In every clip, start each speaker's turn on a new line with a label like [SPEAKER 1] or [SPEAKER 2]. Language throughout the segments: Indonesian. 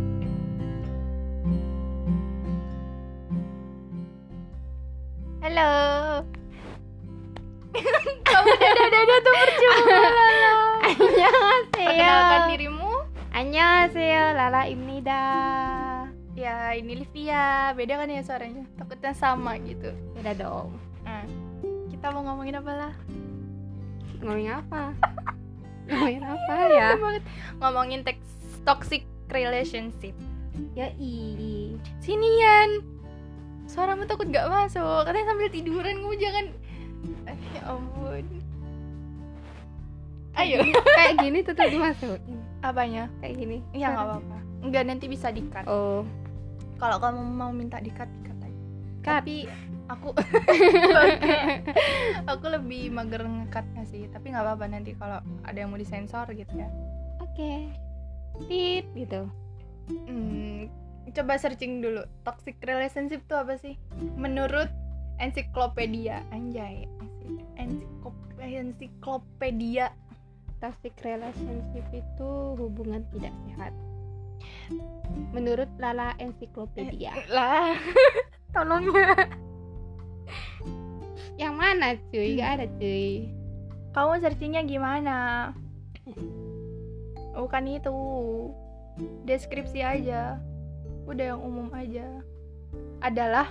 [SPEAKER 1] Halo.
[SPEAKER 2] Kamu dada dada tuh percuma lah. Perkenalkan
[SPEAKER 1] Annyeonghaseyo.
[SPEAKER 2] dirimu.
[SPEAKER 1] Iya. Annyeonghaseyo. Lala Imnida.
[SPEAKER 2] Ya ini Livia. Beda kan ya suaranya. Takutnya sama gitu.
[SPEAKER 1] Beda dong.
[SPEAKER 2] Nah, kita mau ngomongin apa lah?
[SPEAKER 1] Ngomongin apa? Ngomongin apa ya?
[SPEAKER 2] Seru banget. Ngomongin teks toxic relationship.
[SPEAKER 1] Ya i.
[SPEAKER 2] Sinian. Suaramu takut gak masuk. Katanya sambil tiduran kamu jangan. Eh, Ya ampun. Ayo.
[SPEAKER 1] Kayak gini tetap dimasukin.
[SPEAKER 2] Apanya?
[SPEAKER 1] Kayak gini.
[SPEAKER 2] Ya nggak apa-apa. Enggak nanti bisa dikat.
[SPEAKER 1] Oh.
[SPEAKER 2] Kalau kamu mau minta dikat, dikat aja.
[SPEAKER 1] Cut.
[SPEAKER 2] Tapi aku Oke. aku lebih mager ngekatnya sih. Tapi nggak apa-apa nanti kalau ada yang mau disensor gitu ya.
[SPEAKER 1] Oke. Tip gitu.
[SPEAKER 2] Hmm, coba searching dulu toxic relationship tuh apa sih? Menurut ensiklopedia anjay. ensiklop- Ensiklopedia
[SPEAKER 1] Toxic relationship itu hubungan tidak sehat. Menurut Lala Ensiklopedia.
[SPEAKER 2] lah. Tolong
[SPEAKER 1] Yang mana cuy? Gak ada cuy.
[SPEAKER 2] Kamu searchingnya gimana? Bukan itu Deskripsi aja Udah yang umum aja Adalah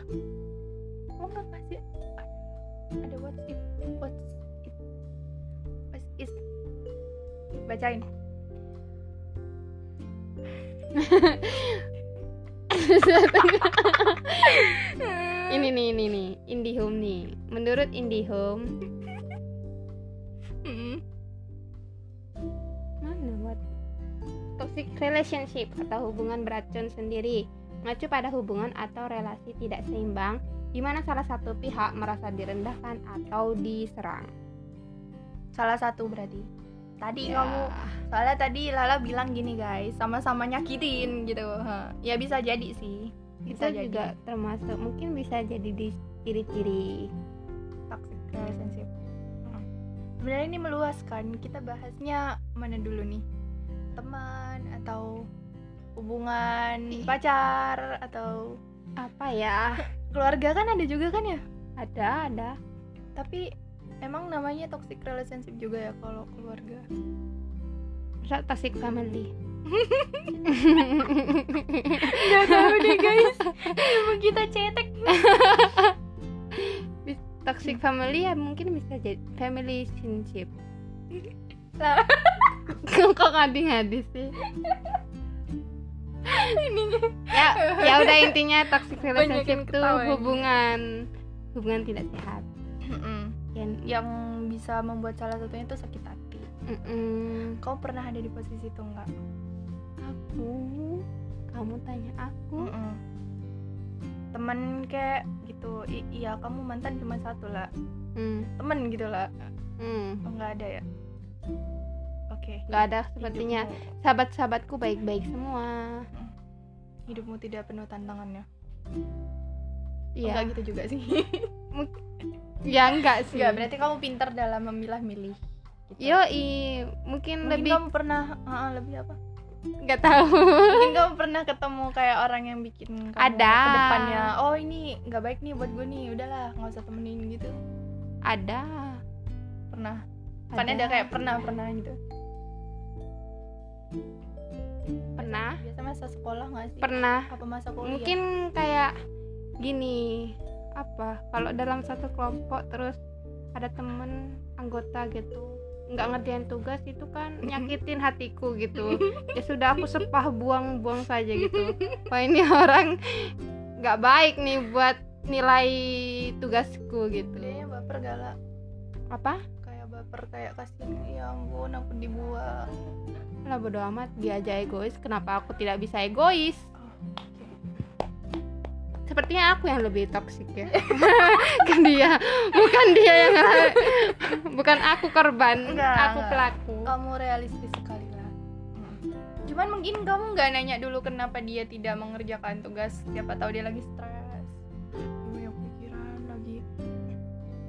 [SPEAKER 2] Oh nggak pasti Ada what if What it What is Bacain Hmm.
[SPEAKER 1] ini nih ini nih IndiHome nih menurut IndiHome
[SPEAKER 2] Mm.
[SPEAKER 1] mana buat toxic relationship atau hubungan beracun sendiri mengacu pada hubungan atau relasi tidak seimbang di mana salah satu pihak merasa direndahkan atau diserang.
[SPEAKER 2] Salah satu berarti Tadi
[SPEAKER 1] Ya.
[SPEAKER 2] kamu Soalnya tadi Lala bilang gini guys Sama-sama nyakitin gitu Ha. Ya bisa jadi sih
[SPEAKER 1] itu juga termasuk mungkin bisa jadi di ciri-ciri
[SPEAKER 2] toxic relationship. Hmm. Sebenarnya ini meluaskan. Kita bahasnya mana dulu nih? Teman atau hubungan pacar atau
[SPEAKER 1] apa ya?
[SPEAKER 2] keluarga kan ada juga kan ya?
[SPEAKER 1] Ada ada.
[SPEAKER 2] Tapi emang namanya toxic relationship juga ya kalau keluarga.
[SPEAKER 1] Masa toxic family.
[SPEAKER 2] Gak tahu deh guys. Ibu kita cetek.
[SPEAKER 1] Toxic family ya mungkin bisa jadi family relationship.
[SPEAKER 2] Lah,
[SPEAKER 1] kok ngadi-ngadi sih
[SPEAKER 2] ininya.
[SPEAKER 1] ya ya udah intinya toxic
[SPEAKER 2] Banyakin
[SPEAKER 1] relationship tuh
[SPEAKER 2] ketawa ini.
[SPEAKER 1] hubungan hubungan tidak sehat kan? dan
[SPEAKER 2] Yang bisa membuat salah satunya itu sakit hati.
[SPEAKER 1] Mm-mm.
[SPEAKER 2] Kau pernah ada di posisi itu nggak?
[SPEAKER 1] aku kamu tanya aku
[SPEAKER 2] Mm-mm. temen kayak gitu I- iya kamu mantan cuma satu lah
[SPEAKER 1] Hmm,
[SPEAKER 2] temen gitu lah
[SPEAKER 1] hmm.
[SPEAKER 2] oh, nggak ada ya oke
[SPEAKER 1] nggak ada sepertinya
[SPEAKER 2] hidupmu,
[SPEAKER 1] sahabat-sahabatku baik-baik semua
[SPEAKER 2] hidupmu tidak penuh tantangannya
[SPEAKER 1] Iya
[SPEAKER 2] nggak gitu juga sih
[SPEAKER 1] ya enggak sih
[SPEAKER 2] nggak berarti kamu pintar dalam memilah-milih gitu.
[SPEAKER 1] Yoi, mungkin
[SPEAKER 2] mungkin
[SPEAKER 1] lebih
[SPEAKER 2] kamu pernah ah, ah, lebih apa
[SPEAKER 1] nggak tahu
[SPEAKER 2] mungkin kamu pernah ketemu kayak orang yang bikin kamu
[SPEAKER 1] Ada.
[SPEAKER 2] ke depannya oh ini nggak baik nih buat gue nih udahlah nggak usah temenin gitu
[SPEAKER 1] ada
[SPEAKER 2] pernah kan ada kayak pernah pernah gitu
[SPEAKER 1] pernah
[SPEAKER 2] biasa masa sekolah nggak sih
[SPEAKER 1] pernah
[SPEAKER 2] apa masa kuliah
[SPEAKER 1] mungkin kayak gini apa kalau dalam satu kelompok terus ada temen anggota gitu nggak ngerjain tugas itu kan nyakitin hatiku gitu ya sudah aku sepah buang-buang saja gitu wah ini orang nggak baik nih buat nilai tugasku gitu
[SPEAKER 2] Bedanya baper galak
[SPEAKER 1] apa
[SPEAKER 2] kayak baper kayak kasihan ya ampun aku dibuang
[SPEAKER 1] lah bodo amat dia aja egois kenapa aku tidak bisa egois sepertinya aku yang lebih toksik ya bukan dia bukan dia yang ngera- bukan aku korban
[SPEAKER 2] Enggak, Oh.
[SPEAKER 1] aku
[SPEAKER 2] enggak.
[SPEAKER 1] pelaku
[SPEAKER 2] kamu realistis sekali lah cuman mungkin kamu nggak nanya dulu kenapa dia tidak mengerjakan tugas siapa tahu dia lagi stres banyak pikiran lagi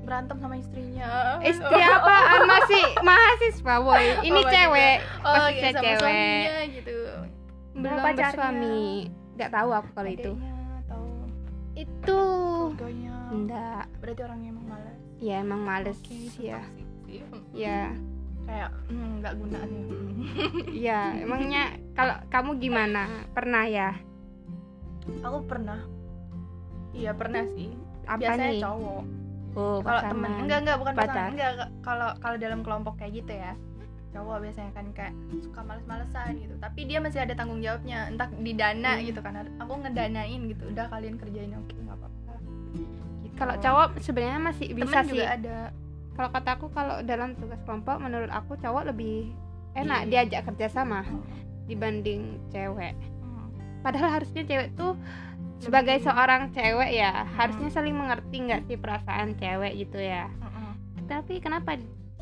[SPEAKER 2] berantem sama istrinya
[SPEAKER 1] istri apaan Eh, Ah, masih mahasiswa boy ini
[SPEAKER 2] Oh, masih
[SPEAKER 1] cewek
[SPEAKER 2] oh,
[SPEAKER 1] pasti
[SPEAKER 2] iya, sama
[SPEAKER 1] cewek.
[SPEAKER 2] suaminya gitu
[SPEAKER 1] belum
[SPEAKER 2] pacarnya.
[SPEAKER 1] bersuami nggak tahu aku kalau itu Uh,
[SPEAKER 2] Adeknya atau
[SPEAKER 1] itu
[SPEAKER 2] keluarganya
[SPEAKER 1] enggak
[SPEAKER 2] berarti orangnya emang malas
[SPEAKER 1] ya emang males
[SPEAKER 2] Oke, itu
[SPEAKER 1] ya
[SPEAKER 2] toxic sih. Hmm,
[SPEAKER 1] ya
[SPEAKER 2] kayak hmm, nggak guna nih Hmm.
[SPEAKER 1] ya emangnya kalau kamu gimana pernah ya
[SPEAKER 2] aku pernah iya pernah sih
[SPEAKER 1] apa
[SPEAKER 2] biasanya
[SPEAKER 1] nih
[SPEAKER 2] cowok
[SPEAKER 1] oh
[SPEAKER 2] kalau
[SPEAKER 1] pasangan.
[SPEAKER 2] temen enggak enggak bukan
[SPEAKER 1] Pacar.
[SPEAKER 2] pasangan enggak enggak. kalau kalau dalam kelompok kayak gitu ya cowok biasanya kan kayak suka males-malesan gitu tapi dia masih ada tanggung jawabnya entah didana
[SPEAKER 1] Hmm.
[SPEAKER 2] gitu kan aku ngedanain gitu udah kalian kerjain oke nggak apa-apa Gitu.
[SPEAKER 1] kalau cowok sebenarnya masih
[SPEAKER 2] Temen
[SPEAKER 1] bisa
[SPEAKER 2] juga
[SPEAKER 1] sih
[SPEAKER 2] ada
[SPEAKER 1] kalau kata aku kalau dalam tugas kelompok menurut aku cowok lebih enak
[SPEAKER 2] Iya.
[SPEAKER 1] diajak kerjasama dibanding cewek
[SPEAKER 2] Hmm.
[SPEAKER 1] padahal harusnya cewek tuh sebagai
[SPEAKER 2] Lebih-
[SPEAKER 1] seorang cewek ya harusnya saling mengerti nggak sih perasaan cewek gitu ya
[SPEAKER 2] Mm-mm.
[SPEAKER 1] tapi kenapa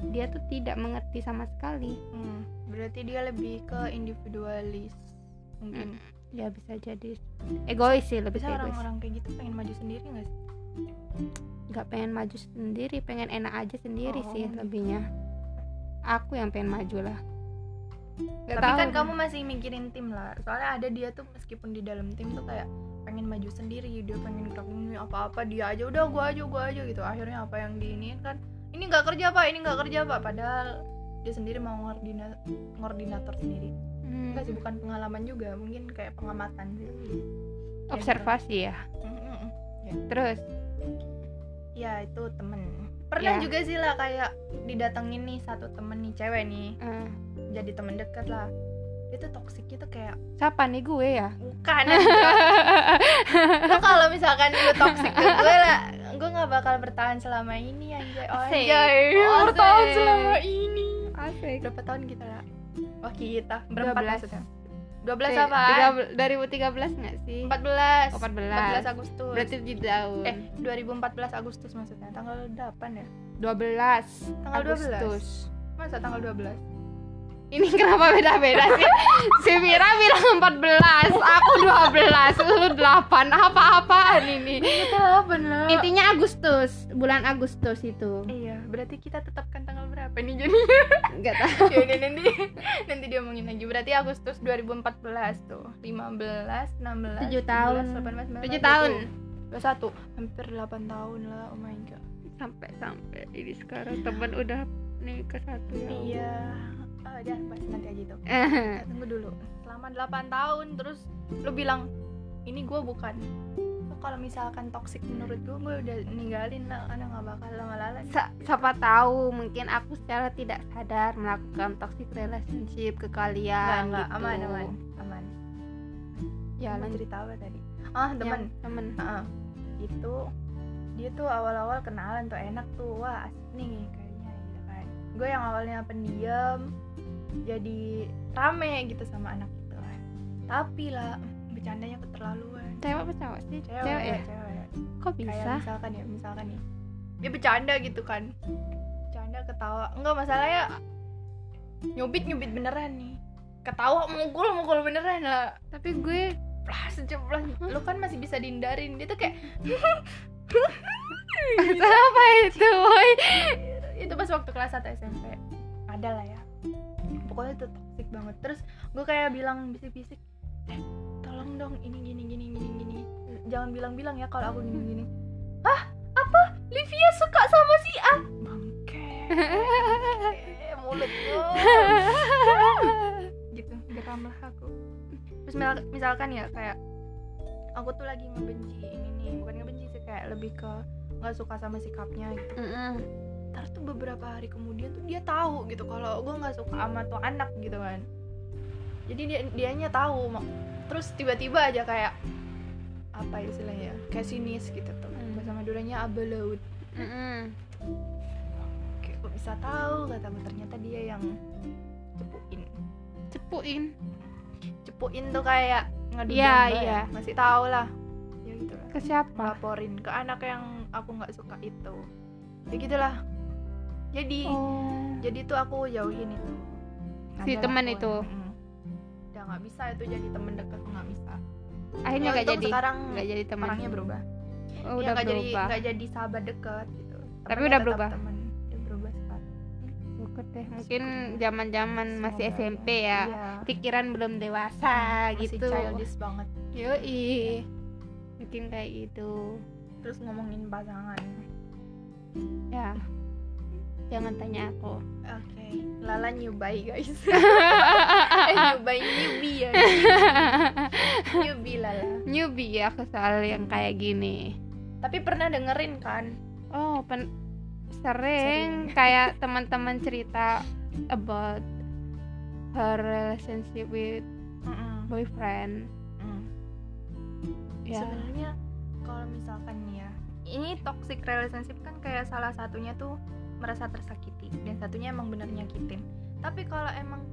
[SPEAKER 1] dia tuh tidak mengerti sama sekali
[SPEAKER 2] Hmm. berarti dia lebih ke individualis mungkin
[SPEAKER 1] ya bisa jadi egois sih lebih
[SPEAKER 2] bisa
[SPEAKER 1] ke egois
[SPEAKER 2] orang-orang kayak gitu pengen maju sendiri nggak sih
[SPEAKER 1] nggak pengen maju sendiri pengen enak aja sendiri
[SPEAKER 2] Oh,
[SPEAKER 1] sih
[SPEAKER 2] gitu.
[SPEAKER 1] lebihnya aku yang pengen maju lah
[SPEAKER 2] tapi
[SPEAKER 1] nggak tahu
[SPEAKER 2] kan kamu masih mikirin tim lah soalnya ada dia tuh meskipun di dalam tim tuh kayak pengen maju sendiri dia pengen gerak-gerik apa-apa dia aja udah gua aja gua aja gitu akhirnya apa yang diinin kan ini nggak kerja pak ini nggak kerja pak padahal dia sendiri mau ngordina ngordinator sendiri
[SPEAKER 1] Hmm,
[SPEAKER 2] enggak sih bukan pengalaman juga mungkin kayak pengamatan sih gitu.
[SPEAKER 1] observasi ya
[SPEAKER 2] Mm-mm.
[SPEAKER 1] terus
[SPEAKER 2] ya itu temen pernah
[SPEAKER 1] Ya.
[SPEAKER 2] juga sih lah kayak didatengin nih satu temen nih cewek nih
[SPEAKER 1] eh,
[SPEAKER 2] jadi temen deket lah dia tuh toksik gitu kayak
[SPEAKER 1] siapa nih gue ya
[SPEAKER 2] bukan aja. Lu Nah, kalau misalkan lu toxic ke gue lah gue nggak bakal bertahan selama ini anjay oh,
[SPEAKER 1] Asik.
[SPEAKER 2] anjay
[SPEAKER 1] Oh,
[SPEAKER 2] bertahan
[SPEAKER 1] asik.
[SPEAKER 2] selama ini
[SPEAKER 1] asik
[SPEAKER 2] berapa tahun kita lah oh kita berempat
[SPEAKER 1] 12.
[SPEAKER 2] maksudnya dua belas
[SPEAKER 1] Tiga-
[SPEAKER 2] apa
[SPEAKER 1] Eh, tiga- 2013 nggak sih
[SPEAKER 2] empat belas
[SPEAKER 1] 14
[SPEAKER 2] Agustus
[SPEAKER 1] berarti di tahun
[SPEAKER 2] eh 2014 Agustus maksudnya tanggal 8 ya
[SPEAKER 1] 12
[SPEAKER 2] Tanggal 12.
[SPEAKER 1] Agustus.
[SPEAKER 2] masa tanggal 12
[SPEAKER 1] Ini kenapa beda-beda sih? si Mira bilang 14, aku 12, lu 8. Apa-apaan ini?
[SPEAKER 2] kita 8 lah
[SPEAKER 1] Intinya Agustus, bulan Agustus itu.
[SPEAKER 2] iya berarti kita tetapkan tanggal berapa nih jadi
[SPEAKER 1] Enggak tahu.
[SPEAKER 2] Yaudah nanti nanti diomongin lagi. Berarti Agustus 2014 tuh. 15, 16,
[SPEAKER 1] Tujuh tahun.
[SPEAKER 2] 18, 19,
[SPEAKER 1] 7 tahun
[SPEAKER 2] 21. Hampir 8 tahun lah. Oh my god.
[SPEAKER 1] sampai sampai ini sekarang teman udah nikah satu ya.
[SPEAKER 2] Iya. Oh, udah bahas nanti aja itu.
[SPEAKER 1] Eh,
[SPEAKER 2] Nah, tunggu dulu. Selama 8 tahun terus lu bilang ini gue bukan. Lu Kalau misalkan toxic menurut gue, gue udah ninggalin lah. Karena nggak bakal lama-lama.
[SPEAKER 1] sa- siapa tahu mungkin aku secara tidak sadar melakukan toxic relationship ke
[SPEAKER 2] Enggak,
[SPEAKER 1] kalian
[SPEAKER 2] enggak.
[SPEAKER 1] gitu.
[SPEAKER 2] Aman, aman, aman.
[SPEAKER 1] Ya,
[SPEAKER 2] Mau
[SPEAKER 1] lanjut
[SPEAKER 2] cerita apa tadi? Ah, teman.
[SPEAKER 1] Yang temen.
[SPEAKER 2] Heeh. itu dia tuh awal-awal kenalan tuh enak tuh wah asik nih kayaknya gitu kan gue yang awalnya pendiam jadi rame gitu sama anak itu kan tapi lah bercandanya keterlaluan
[SPEAKER 1] Cewek apa cowok sih?
[SPEAKER 2] cewek
[SPEAKER 1] ya?
[SPEAKER 2] cewek
[SPEAKER 1] Kok
[SPEAKER 2] kayak
[SPEAKER 1] bisa?
[SPEAKER 2] misalkan ya misalkan nih dia bercanda gitu kan bercanda ketawa enggak masalahnya nyubit nyubit beneran nih ketawa mukul mukul beneran lah
[SPEAKER 1] Tapi gue
[SPEAKER 2] plas jeblas
[SPEAKER 1] Hmm.
[SPEAKER 2] lu kan masih bisa dihindarin dia tuh kayak gitu."
[SPEAKER 1] apa itu, boy?
[SPEAKER 2] itu pas waktu kelas 1 SMP ada lah ya pokoknya itu toxic banget terus gue kayak bilang bisik-bisik eh tolong dong ini gini gini gini gini jangan bilang-bilang ya kalau aku
[SPEAKER 1] Hmm.
[SPEAKER 2] gini gini ah apa Livia suka sama si A bangke Eh, mulut lu gitu geram lah aku terus mil- misalkan ya kayak aku tuh lagi ngebenci ini nih bukan ngebenci sih kayak lebih ke nggak suka sama sikapnya gitu ntar tuh beberapa hari kemudian tuh dia tahu gitu kalau gue nggak suka sama tuh anak gitu kan jadi dia dianya tahu mau- terus tiba-tiba aja kayak apa ya istilahnya kayak sinis gitu tuh
[SPEAKER 1] Hmm.
[SPEAKER 2] bahasa maduranya abe laut kayak kok bisa tahu kata gue ternyata dia yang cepuin
[SPEAKER 1] Cepuin.
[SPEAKER 2] cepuin tuh kayak ngadu
[SPEAKER 1] Iya,
[SPEAKER 2] domba
[SPEAKER 1] iya.
[SPEAKER 2] ya. masih tahu lah ya gitu lah
[SPEAKER 1] Ke siapa?
[SPEAKER 2] laporin ke anak yang aku nggak suka itu ya gitulah jadi
[SPEAKER 1] Oh.
[SPEAKER 2] jadi tuh aku jauhin itu
[SPEAKER 1] Si
[SPEAKER 2] Adalah
[SPEAKER 1] teman
[SPEAKER 2] aku-
[SPEAKER 1] itu?
[SPEAKER 2] Mm-mm. udah nggak bisa itu jadi temen deket nggak bisa
[SPEAKER 1] Akhirnya
[SPEAKER 2] Ya,
[SPEAKER 1] gak
[SPEAKER 2] untung
[SPEAKER 1] jadi.
[SPEAKER 2] sekarang
[SPEAKER 1] Gak jadi teman.
[SPEAKER 2] orangnya berubah
[SPEAKER 1] Oh,
[SPEAKER 2] Dia
[SPEAKER 1] udah
[SPEAKER 2] nggak jadi
[SPEAKER 1] berubah.
[SPEAKER 2] nggak jadi sahabat deket gitu
[SPEAKER 1] Tapi
[SPEAKER 2] Temennya
[SPEAKER 1] udah
[SPEAKER 2] tetap
[SPEAKER 1] berubah?
[SPEAKER 2] temen. udah berubah sekarang gitu.
[SPEAKER 1] Syukur deh. Mungkin zaman-zaman masih
[SPEAKER 2] Semoga
[SPEAKER 1] SMP
[SPEAKER 2] aja.
[SPEAKER 1] ya.
[SPEAKER 2] Iya.
[SPEAKER 1] Pikiran belum dewasa
[SPEAKER 2] masih
[SPEAKER 1] gitu.
[SPEAKER 2] childish banget
[SPEAKER 1] Yoi. Mungkin kayak gitu.
[SPEAKER 2] terus ngomongin pasangan
[SPEAKER 1] ya jangan tanya aku
[SPEAKER 2] oke Lala nyubai guys eh, nyubai newbie ya Iya, newbie Lala
[SPEAKER 1] newbie ya ke soal yang kayak gini
[SPEAKER 2] tapi pernah dengerin kan
[SPEAKER 1] oh pen- sering kayak teman-teman cerita about her relationship with
[SPEAKER 2] Mm-mm.
[SPEAKER 1] boyfriend
[SPEAKER 2] Mm.
[SPEAKER 1] ya
[SPEAKER 2] sebenarnya kalau misalkan nih ya ini toxic relationship kan kayak salah satunya tuh merasa tersakiti dan satunya emang bener nyakitin tapi kalau emang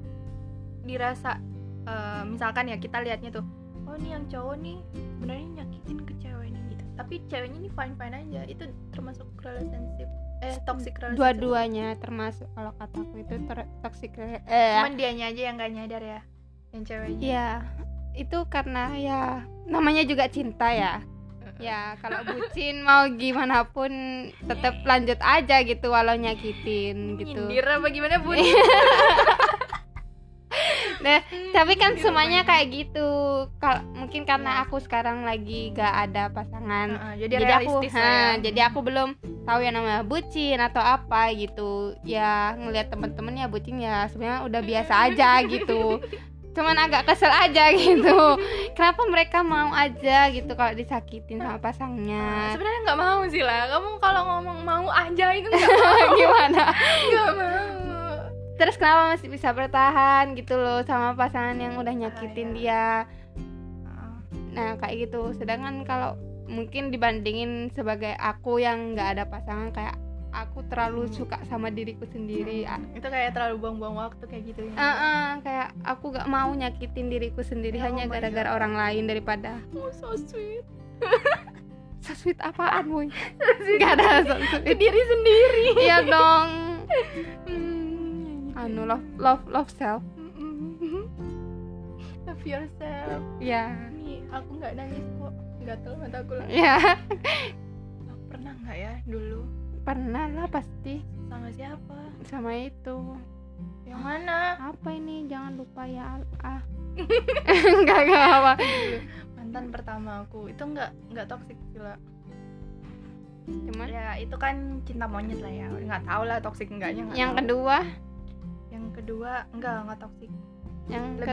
[SPEAKER 2] dirasa eh, misalkan ya kita lihatnya tuh oh nih yang cowok nih sebenarnya nyakitin ke ceweknya gitu tapi ceweknya ini fine fine aja itu termasuk relationship eh toxic relationship
[SPEAKER 1] dua-duanya termasuk kalau kataku itu ter- toxic rela- eh
[SPEAKER 2] cuman dianya aja yang gak nyadar ya yang ceweknya
[SPEAKER 1] ya itu karena ya namanya juga cinta ya ya kalau bucin mau gimana pun tetap lanjut aja gitu walau nyakitin
[SPEAKER 2] Iya.
[SPEAKER 1] gitu
[SPEAKER 2] nyindir apa gimana bun
[SPEAKER 1] Nah, tapi kan
[SPEAKER 2] Hmm, Nyindir
[SPEAKER 1] semuanya
[SPEAKER 2] banyak.
[SPEAKER 1] kayak gitu kalau mungkin
[SPEAKER 2] Ya.
[SPEAKER 1] karena aku sekarang lagi gak ada pasangan
[SPEAKER 2] Heeh, kan. jadi,
[SPEAKER 1] jadi, aku
[SPEAKER 2] realistis lah
[SPEAKER 1] ha,
[SPEAKER 2] ya.
[SPEAKER 1] jadi aku belum tahu yang namanya bucin atau apa gitu ya ngelihat temen-temen ya bucin ya sebenarnya udah biasa aja gitu cuman agak kesel aja gitu kenapa mereka mau aja gitu kalau disakitin sama pasangnya
[SPEAKER 2] sebenarnya nggak mau sih lah kamu kalau ngomong mau aja itu nggak
[SPEAKER 1] gimana
[SPEAKER 2] nggak mau
[SPEAKER 1] terus kenapa masih bisa bertahan gitu loh sama pasangan yang udah
[SPEAKER 2] Ah, ya.
[SPEAKER 1] nyakitin dia Nah kayak gitu. Sedangkan kalau mungkin dibandingin sebagai aku yang nggak ada pasangan kayak aku
[SPEAKER 2] Hmm.
[SPEAKER 1] terlalu suka sama diriku sendiri. A-
[SPEAKER 2] itu kayak terlalu buang-buang waktu kayak gitu ya
[SPEAKER 1] Eh, eh, kayak aku gak mau nyakitin diriku sendiri
[SPEAKER 2] Ya, oh
[SPEAKER 1] hanya
[SPEAKER 2] my
[SPEAKER 1] gara-gara
[SPEAKER 2] God.
[SPEAKER 1] orang lain daripada
[SPEAKER 2] oh so sweet
[SPEAKER 1] so sweet apaan boy gak ada
[SPEAKER 2] ke
[SPEAKER 1] so sweet
[SPEAKER 2] diri sendiri
[SPEAKER 1] iya dong
[SPEAKER 2] Hmm, gitu.
[SPEAKER 1] anu love love love self
[SPEAKER 2] Mm-mm. love yourself
[SPEAKER 1] ya
[SPEAKER 2] nih aku nggak nangis kok gatel mata aku lah
[SPEAKER 1] ya
[SPEAKER 2] pernah nggak ya dulu
[SPEAKER 1] pernah lah pasti
[SPEAKER 2] sama siapa
[SPEAKER 1] sama itu
[SPEAKER 2] yang mana
[SPEAKER 1] apa ini jangan lupa ya ah nggak nggak apa
[SPEAKER 2] mantan pertama aku itu nggak nggak toksik gila
[SPEAKER 1] cuman
[SPEAKER 2] ya itu kan cinta monyet lah ya nggak tahu lah toksik enggaknya nggak
[SPEAKER 1] yang
[SPEAKER 2] tahu.
[SPEAKER 1] kedua
[SPEAKER 2] yang kedua enggak nggak toksik
[SPEAKER 1] yang
[SPEAKER 2] lebih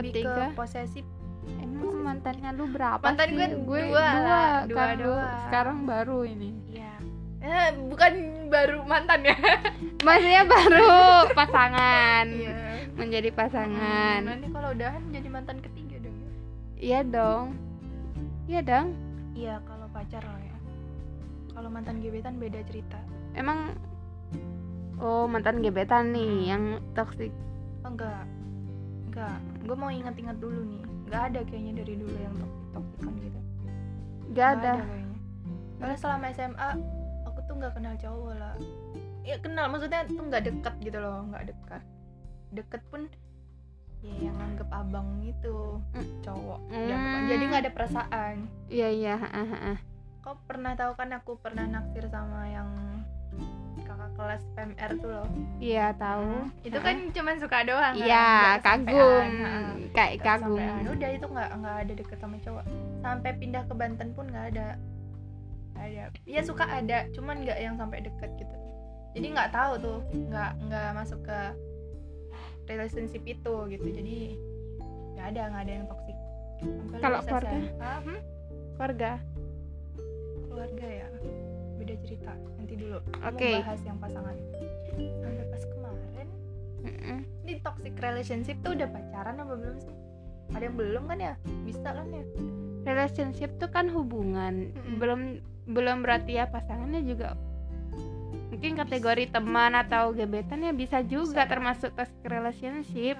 [SPEAKER 2] ke
[SPEAKER 1] ketiga
[SPEAKER 2] posesif
[SPEAKER 1] emang mantannya lu berapa
[SPEAKER 2] Mantan
[SPEAKER 1] sih?
[SPEAKER 2] gue dua lah, dua,
[SPEAKER 1] kan lu
[SPEAKER 2] dua.
[SPEAKER 1] sekarang baru ini
[SPEAKER 2] ya eh, bukan baru mantan ya
[SPEAKER 1] maksudnya baru pasangan
[SPEAKER 2] iya
[SPEAKER 1] menjadi pasangan
[SPEAKER 2] nanti kalau udahan jadi mantan ketiga dong ya?
[SPEAKER 1] iya dong iya dong
[SPEAKER 2] iya kalau pacar lah ya kalau mantan gebetan beda cerita
[SPEAKER 1] emang oh mantan gebetan
[SPEAKER 2] Hmm.
[SPEAKER 1] nih yang toksik
[SPEAKER 2] oh, enggak enggak gue mau ingat-ingat dulu nih nggak ada kayaknya dari dulu yang toksik toksikan gitu
[SPEAKER 1] gak ada
[SPEAKER 2] kayaknya Soalnya selama SMA aku tuh nggak kenal cowok lah ya kenal maksudnya tuh nggak dekat gitu loh nggak dekat deket pun ya yang nganggep abang gitu
[SPEAKER 1] Mm.
[SPEAKER 2] cowok
[SPEAKER 1] Hmm.
[SPEAKER 2] dianggep abang. jadi nggak ada perasaan
[SPEAKER 1] iya iya ah, ah, ah.
[SPEAKER 2] kau pernah tahu kan aku pernah naksir sama yang kakak kelas PMR tuh loh
[SPEAKER 1] iya tahu
[SPEAKER 2] itu kan cuman suka doang kan?
[SPEAKER 1] iya
[SPEAKER 2] Nggak
[SPEAKER 1] kagum
[SPEAKER 2] kesampean, ha.
[SPEAKER 1] kayak
[SPEAKER 2] Nggak
[SPEAKER 1] kagum
[SPEAKER 2] kesampean. ya udah itu nggak nggak ada deket sama cowok sampai pindah ke Banten pun nggak ada Nggak ada ya suka ada cuman nggak yang sampai deket gitu jadi nggak tahu tuh nggak nggak masuk ke relationship itu gitu jadi nggak ada nggak ada yang toksik Sampai
[SPEAKER 1] Kalau
[SPEAKER 2] lulus
[SPEAKER 1] keluarga?
[SPEAKER 2] SMA, hmm,
[SPEAKER 1] keluarga
[SPEAKER 2] keluarga ya beda cerita nanti dulu
[SPEAKER 1] Oke.
[SPEAKER 2] mau bahas yang pasangan sampai pas kemarin
[SPEAKER 1] Mm-mm.
[SPEAKER 2] di toxic relationship tuh udah pacaran apa belum sih ada yang belum kan ya bisa kan ya
[SPEAKER 1] relationship tuh kan hubungan
[SPEAKER 2] Mm-mm.
[SPEAKER 1] belum belum berarti ya pasangannya juga mungkin kategori teman atau gebetan ya bisa juga
[SPEAKER 2] Bisa.
[SPEAKER 1] termasuk toxic relationship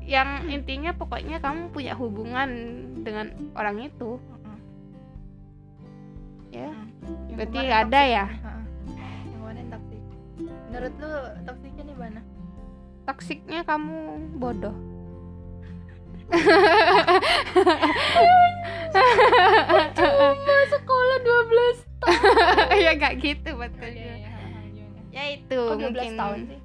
[SPEAKER 1] yang intinya pokoknya kamu punya hubungan dengan orang itu ya
[SPEAKER 2] Yang
[SPEAKER 1] berarti
[SPEAKER 2] kemarin
[SPEAKER 1] ada
[SPEAKER 2] toxic.
[SPEAKER 1] ya
[SPEAKER 2] Ha-ha. yang kemarin toxic menurut lu toksiknya di mana
[SPEAKER 1] toksiknya kamu bodoh
[SPEAKER 2] cuma sekolah 12
[SPEAKER 1] ya nggak gitu
[SPEAKER 2] tahun ya,
[SPEAKER 1] betulnya
[SPEAKER 2] ya, ha-ha, gimana?
[SPEAKER 1] ya itu
[SPEAKER 2] Kok 12
[SPEAKER 1] mungkin
[SPEAKER 2] Oh, tahun sih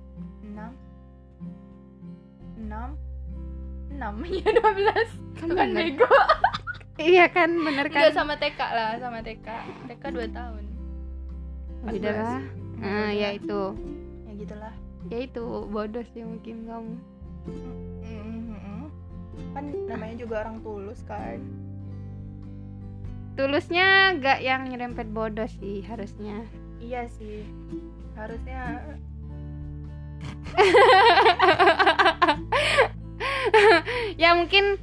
[SPEAKER 2] 6 6 6 ya 12
[SPEAKER 1] Kamu
[SPEAKER 2] itu kan
[SPEAKER 1] bener.
[SPEAKER 2] bego
[SPEAKER 1] iya kan bener
[SPEAKER 2] Nggak
[SPEAKER 1] kan
[SPEAKER 2] sama TK lah sama TK TK 2 tahun
[SPEAKER 1] beda lah nah, ya itu
[SPEAKER 2] ya gitulah
[SPEAKER 1] ya itu bodoh sih mungkin kamu
[SPEAKER 2] kan namanya juga orang tulus kan
[SPEAKER 1] tulusnya gak yang nyerempet bodoh sih harusnya
[SPEAKER 2] iya sih harusnya
[SPEAKER 1] ya mungkin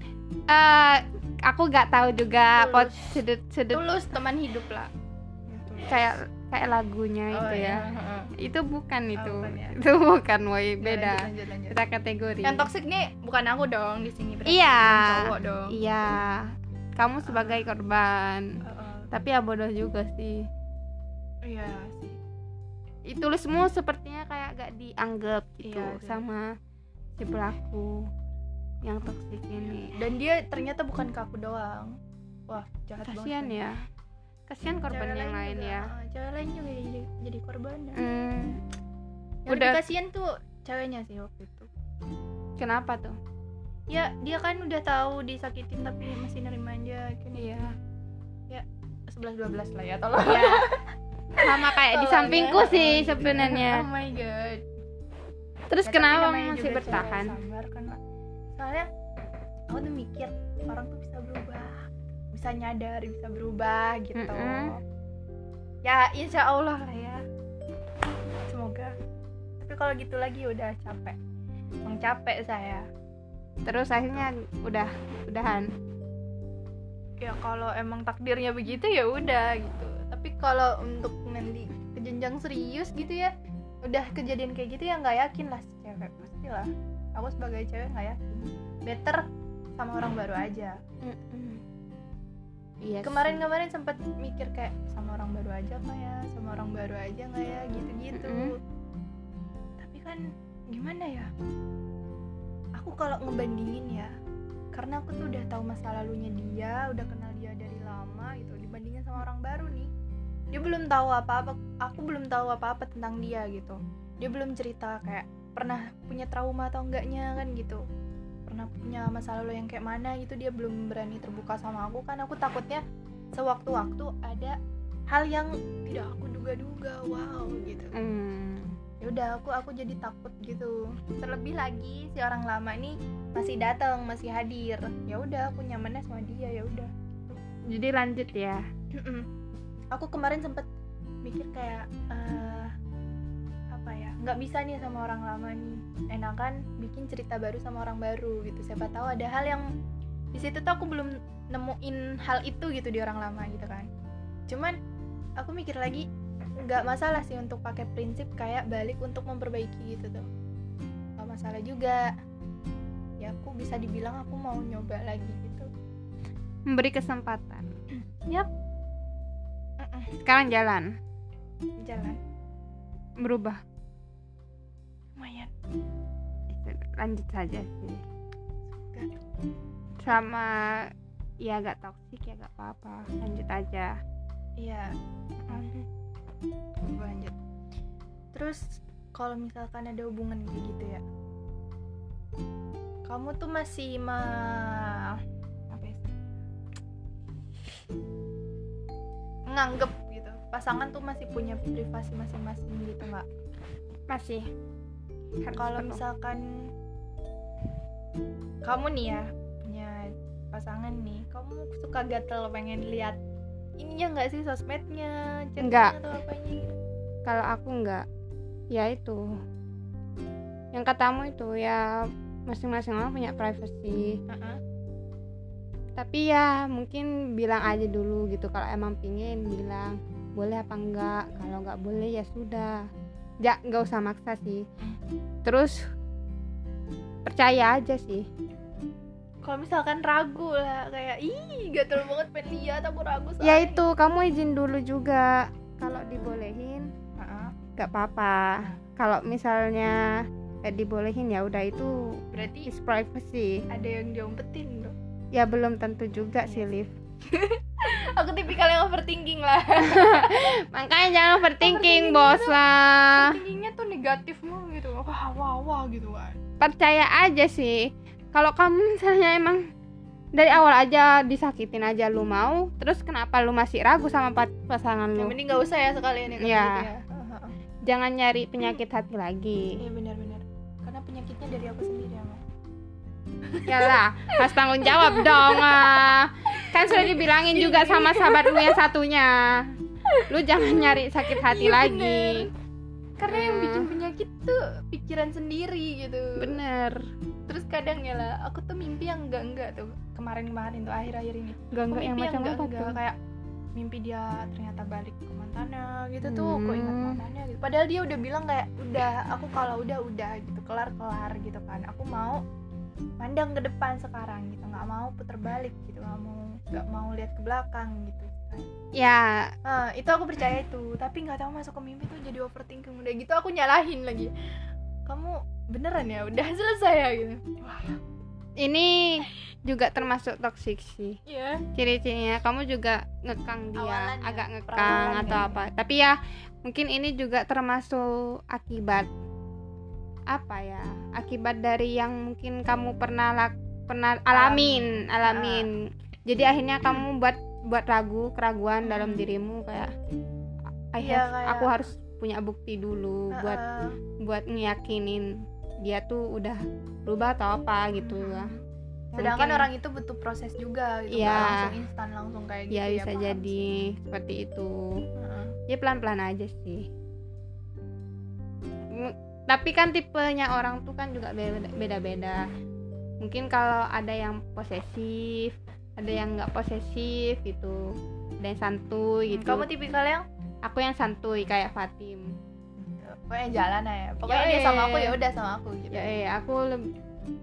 [SPEAKER 1] eh, aku gak tahu juga
[SPEAKER 2] Tulus.
[SPEAKER 1] pot sudut sudut
[SPEAKER 2] tulus teman hidup lah Ya,
[SPEAKER 1] kayak kayak lagunya
[SPEAKER 2] Oh,
[SPEAKER 1] itu ya
[SPEAKER 2] iya, heeh.
[SPEAKER 1] itu bukan itu
[SPEAKER 2] bukan ya.
[SPEAKER 1] itu bukan woi
[SPEAKER 2] Ya,
[SPEAKER 1] beda
[SPEAKER 2] lanjut, lanjut, lanjut.
[SPEAKER 1] kita kategori
[SPEAKER 2] yang toksik nih bukan aku dong di sini berarti
[SPEAKER 1] Iya.
[SPEAKER 2] yang cowok dong
[SPEAKER 1] iya kamu sebagai korban
[SPEAKER 2] Heeh.
[SPEAKER 1] tapi ya bodoh juga sih
[SPEAKER 2] iya sih
[SPEAKER 1] I- tulismu sepertinya kayak gak dianggap gitu
[SPEAKER 2] Iya, iya.
[SPEAKER 1] sama si pelaku yang toksik
[SPEAKER 2] Iya,
[SPEAKER 1] ini
[SPEAKER 2] dan dia ternyata bukan ke aku doang wah jahat
[SPEAKER 1] kasihan
[SPEAKER 2] banget
[SPEAKER 1] ya kasihan korban yang lain ya
[SPEAKER 2] cewek lain juga jadi, jadi korban ya.
[SPEAKER 1] Hmm,
[SPEAKER 2] yang
[SPEAKER 1] Udah.
[SPEAKER 2] udah kasihan tuh ceweknya sih waktu itu
[SPEAKER 1] kenapa tuh
[SPEAKER 2] ya dia kan udah tahu disakitin tapi masih nerima aja kan
[SPEAKER 1] iya
[SPEAKER 2] sebelas dua belas lah ya tolong
[SPEAKER 1] ya sama kayak di
[SPEAKER 2] Tolong ya.
[SPEAKER 1] sampingku sih sebenarnya
[SPEAKER 2] oh my god Ya,
[SPEAKER 1] terus
[SPEAKER 2] tapi
[SPEAKER 1] kenapa
[SPEAKER 2] namanya
[SPEAKER 1] masih
[SPEAKER 2] juga
[SPEAKER 1] bertahan
[SPEAKER 2] cewek sabar kan Mak. soalnya aku tuh mikir orang tuh bisa berubah bisa nyadar bisa berubah gitu
[SPEAKER 1] Mm-mm.
[SPEAKER 2] ya insya Allah lah ya semoga tapi kalau gitu lagi udah capek emang capek saya
[SPEAKER 1] terus akhirnya udah udahan
[SPEAKER 2] ya kalau emang takdirnya begitu ya udah gitu tapi kalau untuk nanti ke jenjang serius gitu ya udah kejadian kayak gitu ya nggak yakin lah si cewek pastilah aku sebagai cewek nggak yakin better sama orang baru aja
[SPEAKER 1] iya sih.
[SPEAKER 2] kemarin-kemarin sempat mikir kayak sama orang baru aja nggak ya sama orang baru aja nggak ya gitu-gitu
[SPEAKER 1] Mm-mm.
[SPEAKER 2] tapi kan gimana ya aku kalau ngebandingin ya karena aku tuh udah tahu masa lalunya dia udah kenal dia dari lama gitu dibandingin sama orang baru nih dia belum tahu apa-apa aku belum tahu apa-apa tentang dia gitu dia belum cerita kayak pernah punya trauma atau enggaknya kan gitu pernah punya masa lalu yang kayak mana gitu dia belum berani terbuka sama aku kan aku takutnya sewaktu-waktu ada hal yang tidak aku duga-duga wow gitu
[SPEAKER 1] Hmm,
[SPEAKER 2] ya udah aku aku jadi takut gitu terlebih lagi si orang lama ini masih datang masih hadir ya udah aku nyamannya sama dia ya udah
[SPEAKER 1] jadi lanjut ya
[SPEAKER 2] Mm-mm. aku kemarin sempet mikir kayak eh, apa ya nggak bisa nih sama orang lama nih enakan bikin cerita baru sama orang baru gitu siapa tahu ada hal yang di situ tuh aku belum nemuin hal itu gitu di orang lama gitu kan cuman aku mikir lagi nggak masalah sih untuk pakai prinsip kayak balik untuk memperbaiki gitu tuh nggak masalah juga ya aku bisa dibilang aku mau nyoba lagi gitu
[SPEAKER 1] memberi kesempatan
[SPEAKER 2] Yap.
[SPEAKER 1] sekarang jalan
[SPEAKER 2] jalan
[SPEAKER 1] berubah
[SPEAKER 2] lumayan
[SPEAKER 1] lanjut saja sih
[SPEAKER 2] Gak
[SPEAKER 1] sama ya agak toksik ya gak apa-apa lanjut aja
[SPEAKER 2] Iya, gue lanjut. Terus kalau misalkan ada hubungan kayak gitu ya, kamu tuh masih ma apa ya? nganggep gitu pasangan tuh masih punya privasi masing-masing gitu nggak
[SPEAKER 1] masih Harus
[SPEAKER 2] kalau
[SPEAKER 1] Kan penuh.
[SPEAKER 2] misalkan kamu nih ya punya pasangan nih kamu suka gatel pengen lihat ininya nggak sih sosmednya chatnya
[SPEAKER 1] Nggak.
[SPEAKER 2] atau apanya gitu?
[SPEAKER 1] kalau aku nggak ya itu yang katamu itu ya masing-masing orang punya privacy
[SPEAKER 2] Heeh.
[SPEAKER 1] tapi ya mungkin bilang aja dulu gitu kalau emang pingin bilang boleh apa enggak kalau nggak boleh ya sudah ya nggak usah maksa sih terus percaya aja sih
[SPEAKER 2] kalau misalkan ragu lah kayak ih gatel banget pengen lihat aku ragu soalnya."
[SPEAKER 1] ya itu kamu izin dulu juga kalau dibolehin
[SPEAKER 2] Heeh.
[SPEAKER 1] nggak apa-apa kalau misalnya eh, dibolehin ya udah itu
[SPEAKER 2] berarti
[SPEAKER 1] is privacy
[SPEAKER 2] ada yang diumpetin dong
[SPEAKER 1] ya belum tentu juga
[SPEAKER 2] Iya
[SPEAKER 1] sih
[SPEAKER 2] sih.
[SPEAKER 1] Liv
[SPEAKER 2] aku tipikal yang overthinking lah
[SPEAKER 1] makanya jangan overthinking
[SPEAKER 2] Overthinking
[SPEAKER 1] bos lah
[SPEAKER 2] overthinkingnya tuh negatif mulu gitu wah wah wah gitu kan
[SPEAKER 1] percaya aja sih kalau kamu misalnya emang dari awal aja disakitin aja lu mau terus kenapa lu masih ragu sama pa- pasangan
[SPEAKER 2] yang
[SPEAKER 1] lu
[SPEAKER 2] penting nggak usah ya sekalian ya kayak
[SPEAKER 1] Iya.
[SPEAKER 2] gitu ya. Heeh, heeh.
[SPEAKER 1] jangan nyari penyakit hati lagi
[SPEAKER 2] iya benar-benar karena penyakitnya dari aku sendiri ya Mak.
[SPEAKER 1] Yalah, harus tanggung jawab dong. ah. Kan sudah dibilangin juga sama sahabat lu yang satunya. Lu jangan nyari sakit hati
[SPEAKER 2] Iya,
[SPEAKER 1] lagi.
[SPEAKER 2] karena yang
[SPEAKER 1] Hmm.
[SPEAKER 2] bikin penyakit tuh pikiran sendiri gitu
[SPEAKER 1] Bener.
[SPEAKER 2] terus kadang ya lah aku tuh mimpi yang enggak enggak tuh kemarin-kemarin tuh akhir-akhir ini
[SPEAKER 1] Enggak enggak yang
[SPEAKER 2] mimpi
[SPEAKER 1] macam apa
[SPEAKER 2] enggak-enggak,
[SPEAKER 1] tuh?
[SPEAKER 2] kayak mimpi dia ternyata balik ke mantannya gitu tuh kok ingat
[SPEAKER 1] Hmm.
[SPEAKER 2] mantannya gitu padahal dia udah bilang kayak udah aku kalau udah udah gitu kelar kelar gitu kan aku mau pandang ke depan sekarang gitu nggak mau puter balik gitu nggak mau nggak mau lihat ke belakang gitu
[SPEAKER 1] Ya,
[SPEAKER 2] Nah, itu aku percaya itu tapi nggak tahu masuk ke mimpi tuh jadi overthinking udah gitu aku nyalahin lagi kamu beneran ya udah selesai ya gitu wah
[SPEAKER 1] ini juga termasuk toksik sih.
[SPEAKER 2] iya
[SPEAKER 1] Ciri-cirinya kamu juga ngekang dia,
[SPEAKER 2] Awalan ya,
[SPEAKER 1] agak ngekang
[SPEAKER 2] perawalan
[SPEAKER 1] atau
[SPEAKER 2] ya.
[SPEAKER 1] apa. Tapi ya mungkin ini juga termasuk akibat apa ya? Akibat dari yang mungkin kamu pernah lak- pernah alamin, alamin. Jadi akhirnya kamu buat buat ragu, keraguan dalam
[SPEAKER 2] Ah. Hmm.
[SPEAKER 1] dirimu kayak I
[SPEAKER 2] Iya,
[SPEAKER 1] have-
[SPEAKER 2] kayak-
[SPEAKER 1] aku harus punya bukti dulu buat
[SPEAKER 2] Heeh.
[SPEAKER 1] buat ngeyakinin dia tuh udah berubah atau apa gitu
[SPEAKER 2] Mhm.
[SPEAKER 1] lah.
[SPEAKER 2] Sedangkan
[SPEAKER 1] Mungkin-
[SPEAKER 2] orang itu butuh proses juga gitu,
[SPEAKER 1] Iya.
[SPEAKER 2] nggak langsung instan langsung kayak gitu
[SPEAKER 1] ya bisa
[SPEAKER 2] paham Ah,
[SPEAKER 1] jadi
[SPEAKER 2] sih.
[SPEAKER 1] seperti itu
[SPEAKER 2] Heeh.
[SPEAKER 1] ya pelan-pelan aja sih M- tapi kan tipenya orang tuh kan juga be- beda-beda mungkin kalau ada yang posesif ada yang nggak posesif gitu ada yang santuy gitu
[SPEAKER 2] Kamu tipikal yang
[SPEAKER 1] aku yang santuy kayak Fatim
[SPEAKER 2] pokoknya jalan aja. Pokoknya dia
[SPEAKER 1] Yoi.
[SPEAKER 2] sama aku ya udah sama aku gitu.
[SPEAKER 1] ya eh aku lebih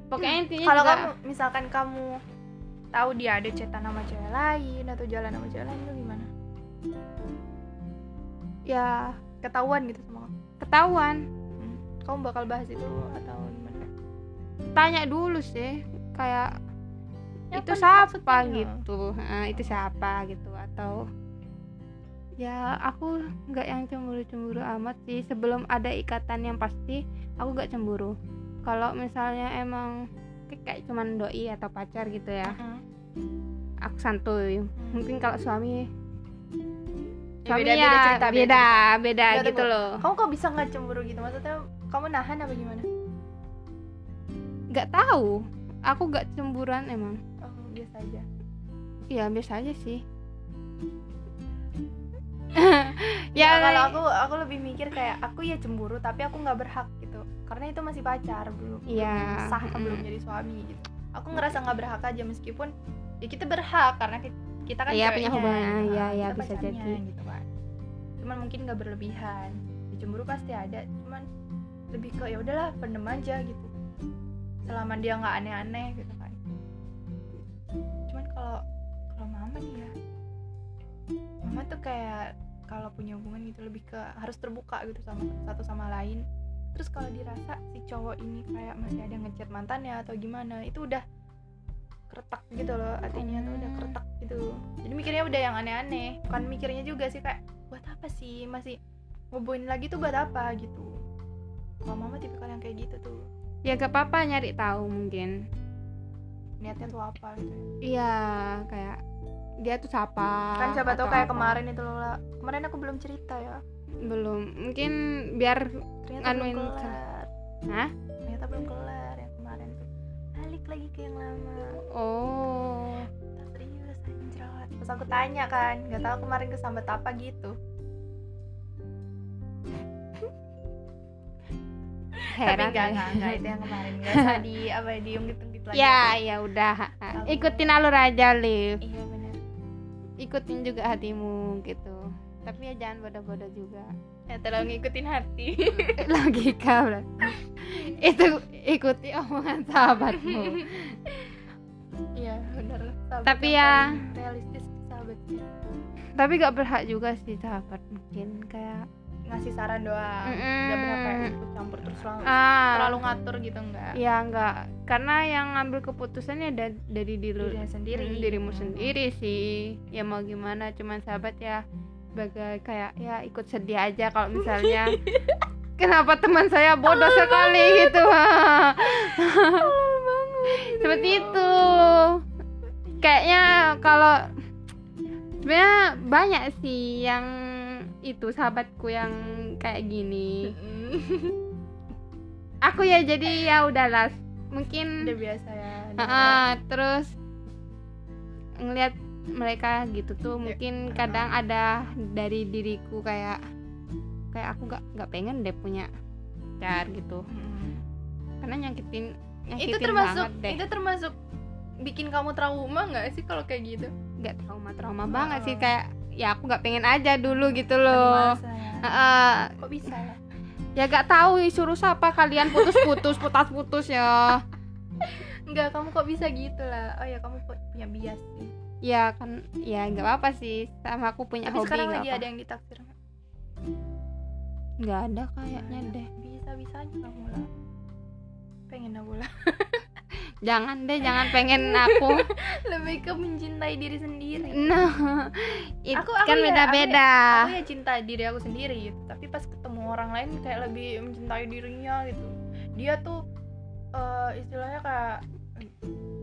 [SPEAKER 1] pokoknya intinya
[SPEAKER 2] Kalau
[SPEAKER 1] juga
[SPEAKER 2] kamu misalkan kamu tahu dia ada cetan sama cewek lain atau jalan sama cewek lain itu gimana?
[SPEAKER 1] ya
[SPEAKER 2] Ketahuan gitu sama kamu.
[SPEAKER 1] ketahuan
[SPEAKER 2] Kamu bakal bahas itu atau gimana?
[SPEAKER 1] tanya dulu sih kayak
[SPEAKER 2] Ya,
[SPEAKER 1] itu
[SPEAKER 2] kan
[SPEAKER 1] siapa
[SPEAKER 2] maksudnya.
[SPEAKER 1] gitu Eh, itu siapa gitu atau ya aku nggak yang cemburu-cemburu amat sih sebelum ada ikatan yang pasti aku nggak cemburu kalau misalnya emang kayak- kayak cuman doi atau pacar gitu ya
[SPEAKER 2] Heeh.
[SPEAKER 1] aku santuy mungkin kalau suami
[SPEAKER 2] Ya,
[SPEAKER 1] suami
[SPEAKER 2] beda-beda
[SPEAKER 1] ya
[SPEAKER 2] cerita, beda
[SPEAKER 1] beda beda
[SPEAKER 2] Nggak,
[SPEAKER 1] gitu
[SPEAKER 2] tunggu.
[SPEAKER 1] loh
[SPEAKER 2] Kamu kok bisa nggak cemburu gitu? Maksudnya kamu nahan apa gimana?
[SPEAKER 1] nggak tahu aku nggak cemburuan emang
[SPEAKER 2] Oh, biasa aja.
[SPEAKER 1] ya biasa aja sih
[SPEAKER 2] ya
[SPEAKER 1] Iya,
[SPEAKER 2] kalau aku aku lebih mikir kayak aku ya cemburu tapi aku nggak berhak gitu karena itu masih pacar belum
[SPEAKER 1] Iya.
[SPEAKER 2] belum sah
[SPEAKER 1] Mm-mm.
[SPEAKER 2] belum jadi suami gitu aku ngerasa nggak berhak aja meskipun ya kita berhak karena ki- kita kan
[SPEAKER 1] Iya, punya
[SPEAKER 2] ceweknya,
[SPEAKER 1] hubungan.
[SPEAKER 2] gitu,
[SPEAKER 1] Iya,
[SPEAKER 2] kita
[SPEAKER 1] iya, bisa
[SPEAKER 2] pacarnya,
[SPEAKER 1] jadi.
[SPEAKER 2] gitu kan cuman mungkin nggak berlebihan Ya, cemburu pasti ada cuman lebih ke ya udahlah pendem aja gitu selama dia nggak aneh-aneh gitu kan cuman kalau kalau mama nih ya mama tuh kayak kalau punya hubungan gitu lebih ke harus terbuka gitu sama satu sama lain terus kalau dirasa si cowok ini kayak masih ada ngechat mantannya atau gimana itu udah keretak gitu loh hatinya tuh udah keretak gitu jadi mikirnya udah yang aneh-aneh bukan mikirnya juga sih kayak buat apa sih masih hubungin lagi tuh buat apa gitu kalau mama tipikal yang kayak gitu tuh
[SPEAKER 1] ya gak apa-apa nyari tahu mungkin
[SPEAKER 2] niatnya tuh apa gitu ya.
[SPEAKER 1] iya kayak dia tuh siapa
[SPEAKER 2] kan siapa
[SPEAKER 1] atau
[SPEAKER 2] tau kayak
[SPEAKER 1] apa.
[SPEAKER 2] kemarin itu loh lah kemarin aku belum cerita ya
[SPEAKER 1] belum mungkin biar
[SPEAKER 2] ternyata
[SPEAKER 1] Nganuin
[SPEAKER 2] belum
[SPEAKER 1] cara.
[SPEAKER 2] kelar
[SPEAKER 1] Hah?
[SPEAKER 2] ternyata belum kelar yang kemarin tuh balik lagi ke yang lama
[SPEAKER 1] oh
[SPEAKER 2] Tak serius anjrot terus aku tanya kan nggak tahu kemarin kesambet apa gitu tapi nggak
[SPEAKER 1] heran ya.
[SPEAKER 2] nggak, nggak itu yang kemarin nggak usah di apa ya, diungkit ungkit lagi
[SPEAKER 1] ya ya udah ikutin alur aja Liv
[SPEAKER 2] iya benar
[SPEAKER 1] ikutin juga hatimu gitu tapi ya jangan bodoh-bodoh juga
[SPEAKER 2] ya terlalu ngikutin hati
[SPEAKER 1] logika berarti. itu ikuti omongan sahabatmu
[SPEAKER 2] iya benar Sahabat
[SPEAKER 1] Tapi
[SPEAKER 2] yang
[SPEAKER 1] ya-
[SPEAKER 2] paling realistis sahabat sih.
[SPEAKER 1] tapi gak berhak juga sih sahabat mungkin kayak
[SPEAKER 2] ngasih saran doang nggak berapa ya, ikut campur terus langsung
[SPEAKER 1] ah
[SPEAKER 2] terlalu ngatur gitu enggak
[SPEAKER 1] ya enggak karena yang ngambil keputusannya da- dari diri
[SPEAKER 2] dirinya sendiri
[SPEAKER 1] Hmm, dirimu sendiri sih ya mau gimana cuman sahabat ya sebagai kayak ya ikut sedih aja kalau misalnya kenapa teman saya bodoh sekali gitu
[SPEAKER 2] Tolol banget.
[SPEAKER 1] seperti
[SPEAKER 2] Ya
[SPEAKER 1] itu sebenarnya kalau sebenarnya banyak sih yang itu sahabatku yang kayak gini aku ya jadi ya udahlah mungkin
[SPEAKER 2] udah biasa ya udah
[SPEAKER 1] Heeh, terus ngelihat mereka gitu tuh
[SPEAKER 2] Iya.
[SPEAKER 1] mungkin kadang ada dari diriku kayak kayak aku gak nggak pengen deh punya pacar gitu
[SPEAKER 2] kayak- Mm-mm.
[SPEAKER 1] karena nyakitin nyakitin
[SPEAKER 2] itu termasuk
[SPEAKER 1] banget deh
[SPEAKER 2] itu termasuk bikin kamu trauma nggak sih kalau kayak gitu
[SPEAKER 1] nggak trauma trauma
[SPEAKER 2] Heeh.
[SPEAKER 1] banget sih kayak ya aku nggak pengen aja dulu gitu loh Ah.
[SPEAKER 2] Masa ya?
[SPEAKER 1] Heeh,
[SPEAKER 2] kok bisa ya
[SPEAKER 1] ya gak tahu suruh siapa kalian putus-putus putus-putus ya
[SPEAKER 2] nggak kamu kok bisa gitu lah oh ya kamu pu- punya bias sih
[SPEAKER 1] ya kan ya nggak apa-apa sih sama aku punya
[SPEAKER 2] tapi
[SPEAKER 1] hobi
[SPEAKER 2] sekarang
[SPEAKER 1] nggak
[SPEAKER 2] lagi
[SPEAKER 1] apa
[SPEAKER 2] ada yang ditaksir nggak?
[SPEAKER 1] nggak ada kayaknya deh
[SPEAKER 2] bisa bisanya Nah, kamu lah pengen aku lah
[SPEAKER 1] jangan deh jangan pengen aku
[SPEAKER 2] lebih ke mencintai diri sendiri
[SPEAKER 1] no itu
[SPEAKER 2] Aku- aku
[SPEAKER 1] kan
[SPEAKER 2] ya,
[SPEAKER 1] beda-beda
[SPEAKER 2] aku ya cinta diri aku sendiri gitu tapi pas ketemu orang lain kayak lebih mencintai dirinya gitu dia tuh eh, istilahnya kayak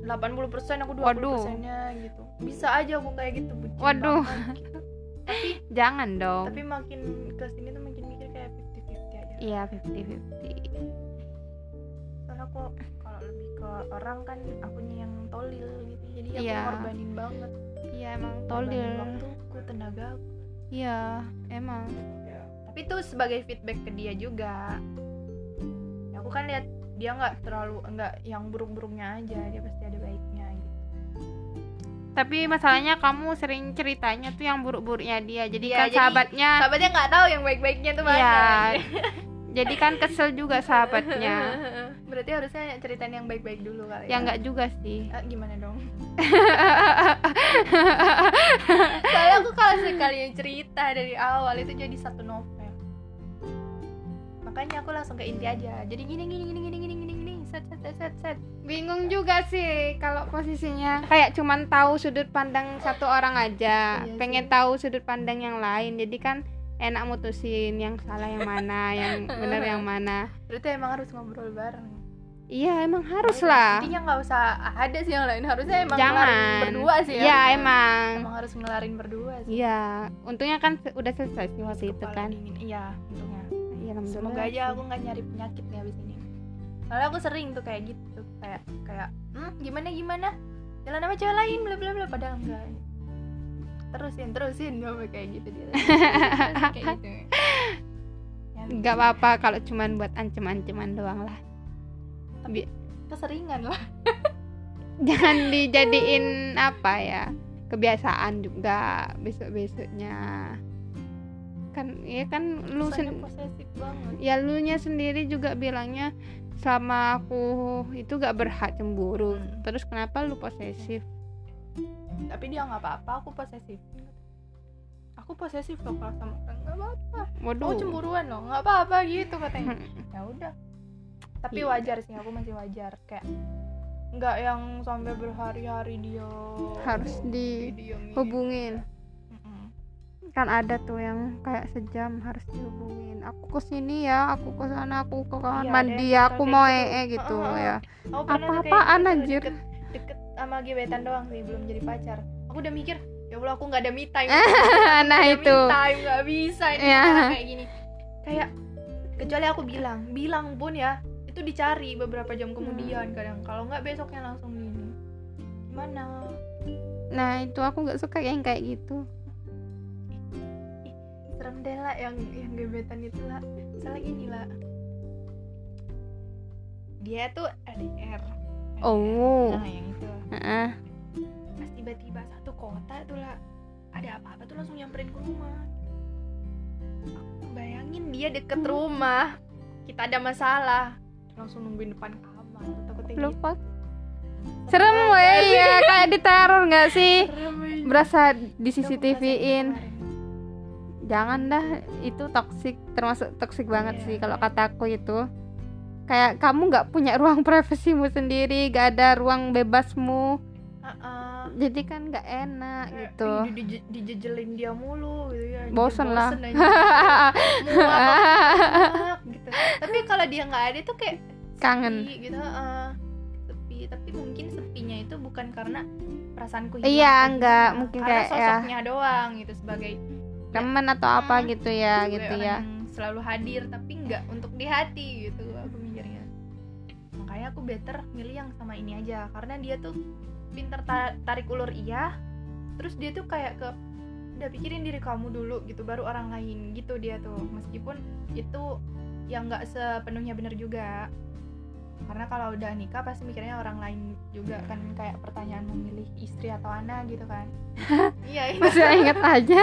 [SPEAKER 2] 80% aku 20% nya gitu bisa aja aku kayak gitu bucin
[SPEAKER 1] Waduh.
[SPEAKER 2] banget gitu.
[SPEAKER 1] jangan dong
[SPEAKER 2] tapi makin kesini tuh makin mikir kayak 50-50 aja
[SPEAKER 1] iya 50-50
[SPEAKER 2] soalnya aku kalau lebih ke orang kan akunya yang tolil gitu jadi
[SPEAKER 1] Iya.
[SPEAKER 2] aku ngorbanin banget
[SPEAKER 1] iya emang
[SPEAKER 2] Ngorbanin
[SPEAKER 1] tolil
[SPEAKER 2] waktuku tenagaku
[SPEAKER 1] iya emang
[SPEAKER 2] tapi itu sebagai feedback ke dia juga Ya, aku kan lihat dia nggak terlalu nggak yang buruk-buruknya aja dia pasti ada baiknya gitu
[SPEAKER 1] tapi masalahnya kamu sering ceritanya tuh yang buruk-buruknya dia jadi
[SPEAKER 2] Iya,
[SPEAKER 1] kan
[SPEAKER 2] jadi
[SPEAKER 1] sahabatnya
[SPEAKER 2] sahabatnya nggak tahu yang baik-baiknya tuh mana
[SPEAKER 1] iya jadi kan kesel juga sahabatnya
[SPEAKER 2] berarti harusnya ceritain yang baik-baik dulu kali
[SPEAKER 1] ya
[SPEAKER 2] ya
[SPEAKER 1] Iya, nggak juga sih
[SPEAKER 2] Ah, gimana dong soalnya aku kalau sekali yang cerita dari awal itu jadi satu novel makanya aku langsung ke inti aja jadi gini gini gini gini gini gini gini set set set set set
[SPEAKER 1] bingung juga sih kalau posisinya kayak cuman tahu sudut pandang satu orang aja
[SPEAKER 2] Iya
[SPEAKER 1] pengen tahu sudut pandang yang lain jadi kan enak mutusin yang salah yang mana yang benar yang mana
[SPEAKER 2] berarti emang harus ngobrol bareng
[SPEAKER 1] iya emang harus lah
[SPEAKER 2] intinya nggak usah ada sih yang lain harusnya emang ngelarin
[SPEAKER 1] jangan
[SPEAKER 2] berdua sih ya
[SPEAKER 1] Iya, emang
[SPEAKER 2] Emang harus ngelarin berdua sih
[SPEAKER 1] iya untungnya kan se- udah selesai sih waktu itu
[SPEAKER 2] Kepala
[SPEAKER 1] kan
[SPEAKER 2] dingin. iya untungnya
[SPEAKER 1] Iya, alhamdulillah
[SPEAKER 2] semoga aja
[SPEAKER 1] sih.
[SPEAKER 2] aku nggak nyari penyakit nih abis ini soalnya aku sering tuh kayak gitu kayak kayak hmm, gimana gimana jalan sama cewek lain bla bla bla padahal enggak terusin terusin gue kayak gitu dia Terusin, kayak gitu Ya,
[SPEAKER 1] nggak apa-apa kalau cuman buat ancem-anceman doang lah
[SPEAKER 2] keseringan lah
[SPEAKER 1] jangan dijadiin apa ya kebiasaan juga besok besoknya kan ya kan lu
[SPEAKER 2] Soalnya
[SPEAKER 1] sen-
[SPEAKER 2] posesif banget
[SPEAKER 1] ya lu nya sendiri juga bilangnya sama aku itu gak berhak cemburu
[SPEAKER 2] Hmm.
[SPEAKER 1] terus kenapa lu posesif
[SPEAKER 2] tapi dia nggak apa-apa aku posesif aku posesif loh kalau sama orang nggak apa-apa
[SPEAKER 1] waduh
[SPEAKER 2] aku cemburuan loh nggak apa-apa gitu katanya
[SPEAKER 1] Hmm.
[SPEAKER 2] ya udah tapi
[SPEAKER 1] Iya.
[SPEAKER 2] wajar sih aku masih wajar kayak nggak yang sampai berhari-hari dia
[SPEAKER 1] harus
[SPEAKER 2] didiemin.
[SPEAKER 1] dihubungin
[SPEAKER 2] Mm-mm.
[SPEAKER 1] kan ada tuh yang kayak sejam harus dihubungin aku ke sini ya aku ke sana aku ke kamar
[SPEAKER 2] Iya,
[SPEAKER 1] mandi
[SPEAKER 2] ada yang
[SPEAKER 1] aku
[SPEAKER 2] kayak
[SPEAKER 1] mau
[SPEAKER 2] gitu.
[SPEAKER 1] ee gitu
[SPEAKER 2] Heeh,
[SPEAKER 1] ya
[SPEAKER 2] Aku pernah tuh kayak
[SPEAKER 1] Apa-apaan,
[SPEAKER 2] gitu,
[SPEAKER 1] anjir.
[SPEAKER 2] deket, deket sama gebetan doang sih belum jadi pacar aku udah mikir ya Allah aku nggak ada me time
[SPEAKER 1] nah
[SPEAKER 2] Gak
[SPEAKER 1] itu
[SPEAKER 2] me time nggak bisa ini
[SPEAKER 1] Iya.
[SPEAKER 2] orang kayak gini kayak kecuali aku bilang bilang pun ya itu dicari beberapa jam
[SPEAKER 1] Hmm.
[SPEAKER 2] kemudian kadang kalau nggak besoknya langsung ini gimana
[SPEAKER 1] nah itu aku nggak suka yang kayak gitu
[SPEAKER 2] serem deh lah yang yang gebetan itu lah soalnya gini lah dia tuh LDR
[SPEAKER 1] Oh.
[SPEAKER 2] nah yang itu
[SPEAKER 1] Heeh.
[SPEAKER 2] pas tiba-tiba satu kota tuh lah ada apa-apa tuh langsung nyamperin ke rumah aku bayangin dia
[SPEAKER 1] Hmm.
[SPEAKER 2] deket rumah kita ada masalah langsung nungguin depan kamar takutnya gitu
[SPEAKER 1] lupa serem weh ya kayak diteror nggak sih
[SPEAKER 2] serem wih.
[SPEAKER 1] berasa di
[SPEAKER 2] Itu aku
[SPEAKER 1] CCTV-in
[SPEAKER 2] ngerasain
[SPEAKER 1] jangan dah itu toksik termasuk toksik banget
[SPEAKER 2] Iya.
[SPEAKER 1] sih kalau kataku itu kayak kamu nggak punya ruang privasimu sendiri gak ada ruang bebasmu
[SPEAKER 2] kemarin. Ah-ah.
[SPEAKER 1] jadi kan nggak enak
[SPEAKER 2] Kayak,
[SPEAKER 1] gitu
[SPEAKER 2] "Ih, di- di- dijejelin dia mulu gitu ya
[SPEAKER 1] Bosen
[SPEAKER 2] Dia
[SPEAKER 1] lah.
[SPEAKER 2] bosen aja. Muak, muak, gitu tapi kalau dia nggak ada tuh kayak
[SPEAKER 1] kangen
[SPEAKER 2] sepi gitu heeh. sepi tapi mungkin sepinya itu bukan karena perasaanku hilang
[SPEAKER 1] Iya,
[SPEAKER 2] atau
[SPEAKER 1] enggak.
[SPEAKER 2] gimana.
[SPEAKER 1] Mungkin
[SPEAKER 2] karena
[SPEAKER 1] kayak ya.
[SPEAKER 2] sosoknya doang gitu sebagai
[SPEAKER 1] temen atau apa
[SPEAKER 2] Hmm,
[SPEAKER 1] gitu ya
[SPEAKER 2] sebagai
[SPEAKER 1] gitu
[SPEAKER 2] orang
[SPEAKER 1] ya
[SPEAKER 2] yang selalu hadir tapi nggak untuk di hati gitu aku mikirnya makanya aku better milih yang sama ini aja karena dia tuh pinter ta- tarik ulur iya terus dia tuh kayak ke udah pikirin diri kamu dulu gitu baru orang lain gitu dia tuh meskipun itu yang nggak sepenuhnya bener juga karena kalau udah nikah pasti mikirnya orang lain juga kan kayak pertanyaan memilih istri atau anak gitu kan iya itu
[SPEAKER 1] masih inget aja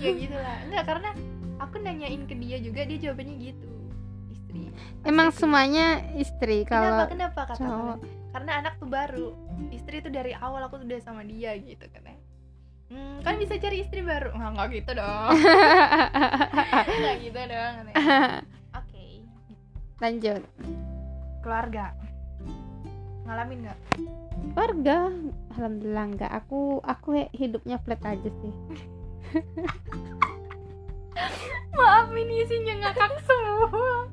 [SPEAKER 2] ya gitu lah enggak karena aku nanyain ke dia juga dia jawabannya gitu istri
[SPEAKER 1] emang
[SPEAKER 2] Pasti.
[SPEAKER 1] semuanya istri
[SPEAKER 2] kenapa
[SPEAKER 1] kalau
[SPEAKER 2] kenapa kata aku.
[SPEAKER 1] cowok.
[SPEAKER 2] karena anak tuh baru istri tuh dari awal aku udah sama dia gitu kan ya. hmm, kan bisa cari istri baru nggak nggak gitu dong nggak gitu dong katanya. oke
[SPEAKER 1] lanjut
[SPEAKER 2] keluarga ngalamin nggak
[SPEAKER 1] warga alhamdulillah enggak aku aku hidupnya flat aja sih
[SPEAKER 2] maaf ini isinya ngakak semua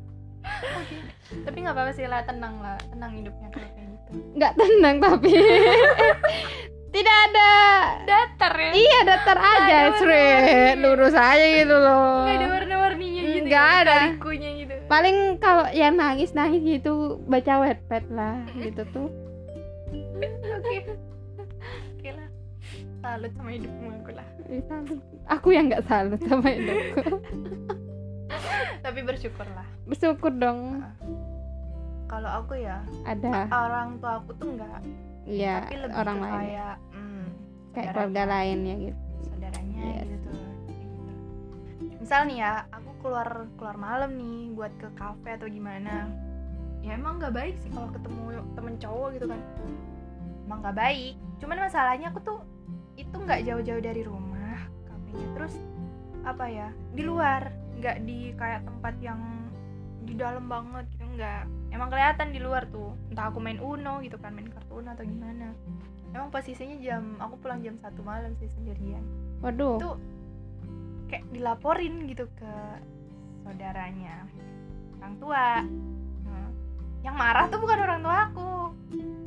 [SPEAKER 2] Oke. tapi nggak apa-apa sih lah tenang lah tenang hidupnya kalau kayak gitu
[SPEAKER 1] nggak tenang tapi tidak ada
[SPEAKER 2] datar ya
[SPEAKER 1] iya datar aja
[SPEAKER 2] ada
[SPEAKER 1] seret
[SPEAKER 2] warnanya.
[SPEAKER 1] lurus aja gitu loh
[SPEAKER 2] nggak ada warna-warninya gitu
[SPEAKER 1] Hmm, Nggak
[SPEAKER 2] ya,
[SPEAKER 1] ada.
[SPEAKER 2] kalikunya gitu
[SPEAKER 1] paling kalau yang nangis nangis gitu baca wetpad lah gitu tuh
[SPEAKER 2] oke oke lah salut sama hidupmu aku lah
[SPEAKER 1] Ih, salut. aku yang nggak salut sama hidupku
[SPEAKER 2] tapi bersyukurlah
[SPEAKER 1] bersyukur dong
[SPEAKER 2] kalau aku ya
[SPEAKER 1] ada
[SPEAKER 2] orang tua aku tuh enggak
[SPEAKER 1] ya
[SPEAKER 2] tapi lebih
[SPEAKER 1] orang
[SPEAKER 2] ke
[SPEAKER 1] lain
[SPEAKER 2] kayak hmm,
[SPEAKER 1] kayak
[SPEAKER 2] saudaranya.
[SPEAKER 1] keluarga lain ya gitu
[SPEAKER 2] saudaranya
[SPEAKER 1] Yes.
[SPEAKER 2] gitu misal nih ya aku keluar keluar malam nih buat ke kafe atau gimana ya emang nggak baik sih kalau ketemu temen cowok gitu kan emang nggak baik cuman masalahnya aku tuh itu nggak jauh-jauh dari rumah kafenya terus apa ya di luar nggak di kayak tempat yang di dalam banget gitu nggak emang kelihatan di luar tuh entah aku main uno gitu kan main kartu uno atau gimana emang posisinya jam aku pulang jam satu malam sih sendirian
[SPEAKER 1] waduh
[SPEAKER 2] Itu- kayak dilaporin gitu ke saudaranya orang tua Nah, yang marah tuh bukan orang tua aku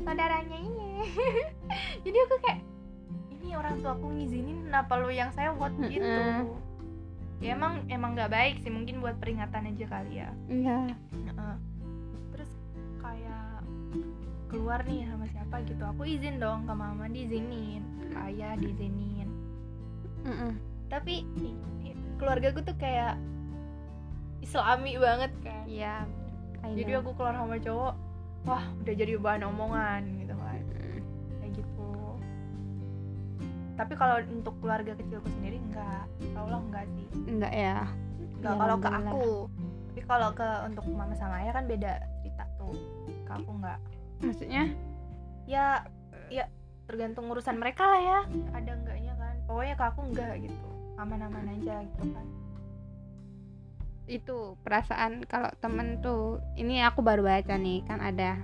[SPEAKER 2] saudaranya ini jadi aku kayak ini orang tua aku ngizinin kenapa lu yang sewot gitu
[SPEAKER 1] Mm-mm.
[SPEAKER 2] ya emang emang nggak baik sih mungkin buat peringatan aja kali ya
[SPEAKER 1] iya
[SPEAKER 2] Heeh. terus kayak keluar nih sama siapa gitu aku izin dong ke mama diizinin ke ayah diizinin
[SPEAKER 1] Mm-mm.
[SPEAKER 2] tapi keluarga gue tuh kayak islami banget kan
[SPEAKER 1] iya I
[SPEAKER 2] jadi
[SPEAKER 1] know.
[SPEAKER 2] aku keluar sama cowok wah udah jadi bahan omongan gitu kan kayak gitu tapi kalau untuk keluarga kecilku sendiri enggak Allah enggak sih
[SPEAKER 1] enggak ya
[SPEAKER 2] enggak
[SPEAKER 1] Ya,
[SPEAKER 2] kalau ke
[SPEAKER 1] alhamdulillah.
[SPEAKER 2] aku tapi kalau ke untuk mama sama ayah kan beda cerita tuh ke aku enggak
[SPEAKER 1] maksudnya
[SPEAKER 2] ya ya tergantung urusan mereka lah ya ada enggaknya kan pokoknya ke aku enggak gitu aman-aman aja gitu kan
[SPEAKER 1] itu perasaan kalau temen tuh ini aku baru baca nih kan ada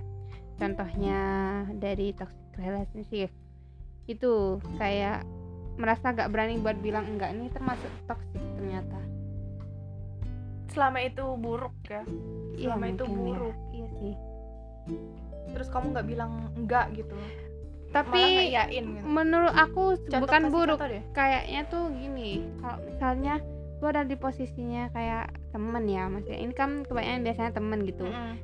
[SPEAKER 1] contohnya dari toxic relationship itu kayak merasa gak berani buat bilang enggak ini termasuk toxic ternyata
[SPEAKER 2] selama itu buruk ya
[SPEAKER 1] Iya,
[SPEAKER 2] Selama itu
[SPEAKER 1] mungkin ya.
[SPEAKER 2] buruk.
[SPEAKER 1] iya sih
[SPEAKER 2] terus kamu nggak bilang enggak gitu
[SPEAKER 1] tapi
[SPEAKER 2] malah ngeyain gitu
[SPEAKER 1] menurut aku
[SPEAKER 2] Contoh,
[SPEAKER 1] bukan
[SPEAKER 2] kasih
[SPEAKER 1] buruk
[SPEAKER 2] contoh deh.
[SPEAKER 1] kayaknya tuh gini kalau misalnya lu ada di posisinya kayak temen ya maksudnya ini kan kebanyakan biasanya temen gitu
[SPEAKER 2] Mm-mm.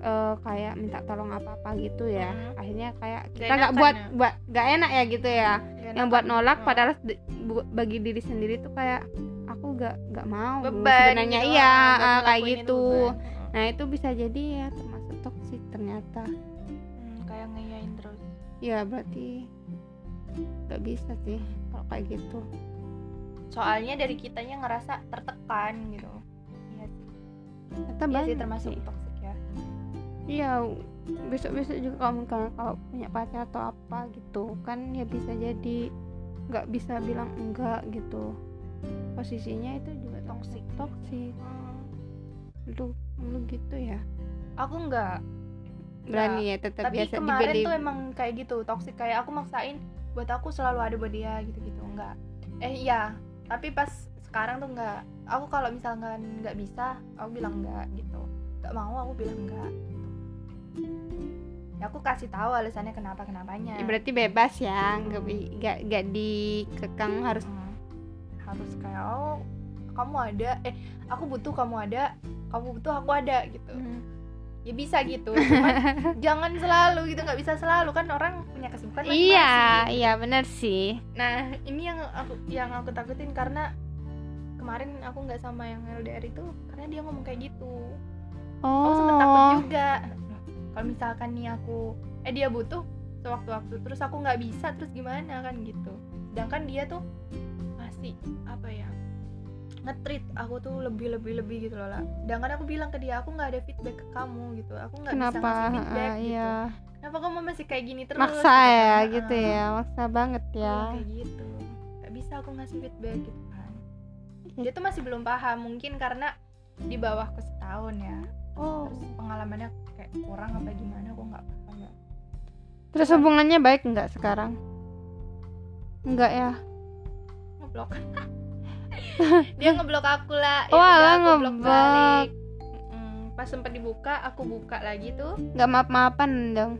[SPEAKER 1] Eh, kayak minta tolong apa apa gitu ya
[SPEAKER 2] Mm.
[SPEAKER 1] akhirnya kayak
[SPEAKER 2] Gak
[SPEAKER 1] kita nggak
[SPEAKER 2] enakan
[SPEAKER 1] buat
[SPEAKER 2] ya.
[SPEAKER 1] buat nggak enak ya gitu ya
[SPEAKER 2] Gak
[SPEAKER 1] yang
[SPEAKER 2] enakan.
[SPEAKER 1] buat nolak
[SPEAKER 2] Oh.
[SPEAKER 1] padahal di- bu- bagi diri sendiri tuh kayak aku nggak nggak mau
[SPEAKER 2] beban
[SPEAKER 1] sebenarnya
[SPEAKER 2] gitu
[SPEAKER 1] iya
[SPEAKER 2] lah, buat
[SPEAKER 1] ah, kayak
[SPEAKER 2] ngelakuin itu
[SPEAKER 1] gitu
[SPEAKER 2] beban. Mm-mm.
[SPEAKER 1] nah itu bisa jadi ya termasuk toksik ternyata
[SPEAKER 2] Hmm, kayak ngeyain terus
[SPEAKER 1] ya berarti nggak bisa sih kalau kayak gitu
[SPEAKER 2] soalnya dari kitanya ngerasa tertekan gitu iya sih Iya
[SPEAKER 1] ternyata
[SPEAKER 2] sih
[SPEAKER 1] banyak
[SPEAKER 2] termasuk
[SPEAKER 1] sih.
[SPEAKER 2] toksik ya
[SPEAKER 1] Iya, besok-besok juga kalau misalnya kalau punya pacar atau apa gitu kan ya bisa jadi nggak bisa bilang enggak gitu. Posisinya itu juga
[SPEAKER 2] Toxic.
[SPEAKER 1] toksik.
[SPEAKER 2] Hmm.
[SPEAKER 1] Lu lu gitu ya.
[SPEAKER 2] aku enggak
[SPEAKER 1] Berani ya tetap
[SPEAKER 2] tapi
[SPEAKER 1] biasa ya
[SPEAKER 2] kemarin
[SPEAKER 1] dibeli.
[SPEAKER 2] tuh emang kayak gitu toksik kayak aku maksain buat aku selalu ada buat dia gitu-gitu enggak eh iya tapi pas sekarang tuh enggak aku kalau misalkan nggak bisa aku bilang enggak gitu nggak mau aku bilang enggak gitu. ya aku kasih tahu alasannya kenapa kenapanya
[SPEAKER 1] Ya, berarti bebas ya nggak bi- nggak nggak dikekang harus
[SPEAKER 2] Hmm. harus kayak oh kamu ada eh aku butuh kamu ada kamu butuh aku ada gitu
[SPEAKER 1] Mm.
[SPEAKER 2] ya bisa gitu cuman jangan selalu gitu nggak bisa selalu kan orang punya kesibukan masing-masing.
[SPEAKER 1] iya iya benar sih
[SPEAKER 2] nah ini yang aku yang aku takutin karena kemarin aku nggak sama yang LDR itu karena dia ngomong kayak gitu aku sempet takut
[SPEAKER 1] oh
[SPEAKER 2] juga kalau misalkan nih aku eh dia butuh sewaktu-waktu terus aku nggak bisa terus gimana kan gitu sedangkan dia tuh masih apa ya ngetrit aku tuh lebih lebih lebih gitu loh lah sedangkan aku bilang ke dia aku nggak ada feedback ke kamu gitu aku nggak bisa
[SPEAKER 1] kenapa
[SPEAKER 2] ngasih feedback
[SPEAKER 1] Ah,
[SPEAKER 2] gitu
[SPEAKER 1] iya
[SPEAKER 2] kenapa kamu masih kayak gini terus
[SPEAKER 1] maksa ya
[SPEAKER 2] kan.
[SPEAKER 1] gitu
[SPEAKER 2] Ah,
[SPEAKER 1] ya maksa banget
[SPEAKER 2] iya,
[SPEAKER 1] ya
[SPEAKER 2] kayak gitu nggak bisa aku ngasih feedback gitu kan
[SPEAKER 1] Iya.
[SPEAKER 2] dia tuh masih belum paham mungkin karena di bawahku setahun ya
[SPEAKER 1] oh
[SPEAKER 2] terus pengalamannya kayak kurang apa gimana aku nggak paham ya
[SPEAKER 1] terus hubungannya baik nggak sekarang nggak ya
[SPEAKER 2] ngeblok dia ngeblok aku lah Ya
[SPEAKER 1] Oh,
[SPEAKER 2] udah,
[SPEAKER 1] alah,
[SPEAKER 2] aku blok
[SPEAKER 1] ngeblok.
[SPEAKER 2] balik. Mm, pas sempat dibuka aku buka lagi tuh
[SPEAKER 1] nggak maaf maafan dong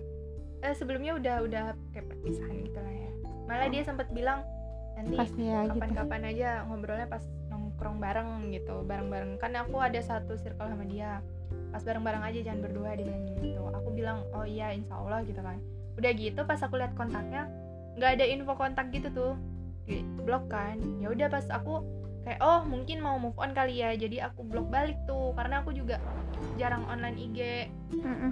[SPEAKER 2] eh, sebelumnya udah udah kayak perpisahan gitu lah ya malah
[SPEAKER 1] Oh.
[SPEAKER 2] dia sempat bilang nanti
[SPEAKER 1] pasti ya gitu
[SPEAKER 2] kapan-kapan aja ngobrolnya pas nongkrong bareng gitu bareng-bareng kan aku ada satu circle sama dia pas bareng-bareng aja jangan berdua dia bilang gitu aku bilang oh iya insya Allah gitu kan udah gitu pas aku lihat kontaknya nggak ada info kontak gitu tuh di blok kan ya udah pas aku kayak oh mungkin mau move on kali ya jadi aku blok balik tuh karena aku juga jarang online IG
[SPEAKER 1] Mm-mm.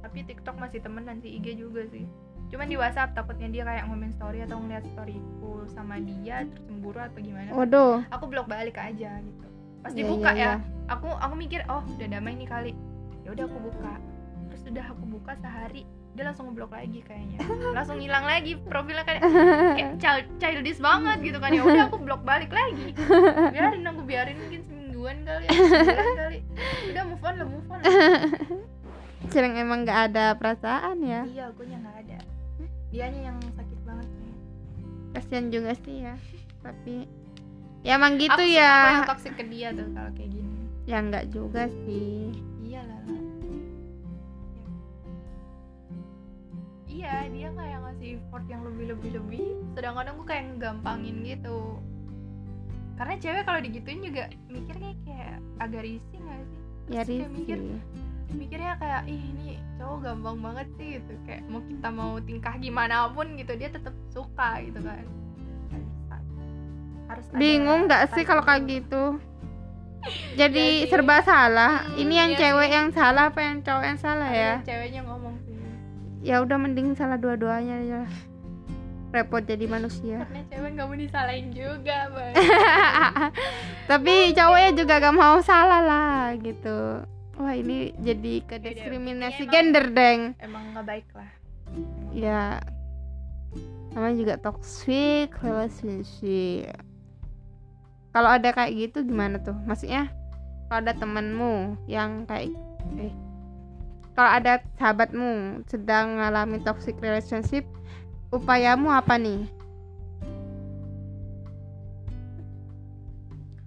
[SPEAKER 2] tapi TikTok masih temenan sih IG juga sih cuman di WhatsApp takutnya dia kayak ngomen story atau ngeliat storyku sama dia terus cemburu atau gimana
[SPEAKER 1] waduh
[SPEAKER 2] aku blok balik aja gitu pas
[SPEAKER 1] Iya,
[SPEAKER 2] dibuka
[SPEAKER 1] iya,
[SPEAKER 2] ya aku aku mikir oh udah damai nih kali ya udah aku buka terus udah aku buka sehari dia langsung ngeblok lagi kayaknya langsung hilang lagi profilnya kayak
[SPEAKER 1] iya.
[SPEAKER 2] kayak child- childish banget gitu kan ya udah aku blok balik lagi biarin aku biarin mungkin semingguan kali ya sebulan kali udah move on lah move on lah
[SPEAKER 1] Cireng emang nggak ada perasaan ya
[SPEAKER 2] Iya, gue yang nggak ada. Dianya yang sakit banget nih.
[SPEAKER 1] kasian juga sih ya tapi ya emang gitu
[SPEAKER 2] Aku suka
[SPEAKER 1] ya
[SPEAKER 2] banget toxic ke dia tuh kalau kayak gini.
[SPEAKER 1] ya nggak juga sih
[SPEAKER 2] Iya lah. lah. Iya, dia kayak ngasih effort yang lebih-lebih-lebih, sedangkan aku kayak ngegampangin gitu. Karena cewek kalau digituin juga mikirnya kayak agak risih gak sih?
[SPEAKER 1] ya
[SPEAKER 2] Terus kayak mikir,
[SPEAKER 1] risih
[SPEAKER 2] mikirnya kayak ih ini cowok gampang banget sih gitu kayak mau kita mau tingkah gimana pun gitu dia tetap suka gitu kan Nggak bisa. harus ada
[SPEAKER 1] bingung nggak sih kalau kayak
[SPEAKER 2] target.
[SPEAKER 1] gitu jadi
[SPEAKER 2] Jadi-
[SPEAKER 1] serba
[SPEAKER 2] Iya
[SPEAKER 1] salah
[SPEAKER 2] Hmm,
[SPEAKER 1] ini yang
[SPEAKER 2] iya
[SPEAKER 1] cewek
[SPEAKER 2] sih.
[SPEAKER 1] yang salah apa yang cowok yang salah
[SPEAKER 2] Ada
[SPEAKER 1] ya
[SPEAKER 2] yang ceweknya ngomong sih
[SPEAKER 1] ya udah mending salah dua-duanya ya repot jadi manusia
[SPEAKER 2] karena cewek nggak mau disalahin juga Bang.
[SPEAKER 1] tapi cowoknya juga gak mau salah lah gitu wah ini jadi ke
[SPEAKER 2] Yaudah, intinya
[SPEAKER 1] diskriminasi
[SPEAKER 2] emang-
[SPEAKER 1] gender deng
[SPEAKER 2] emang nggak baik lah
[SPEAKER 1] ya namanya juga toxic relationship kalau ada kayak gitu gimana tuh maksudnya kalau ada temenmu yang kayak eh kalau ada sahabatmu sedang ngalami toxic relationship upayamu apa nih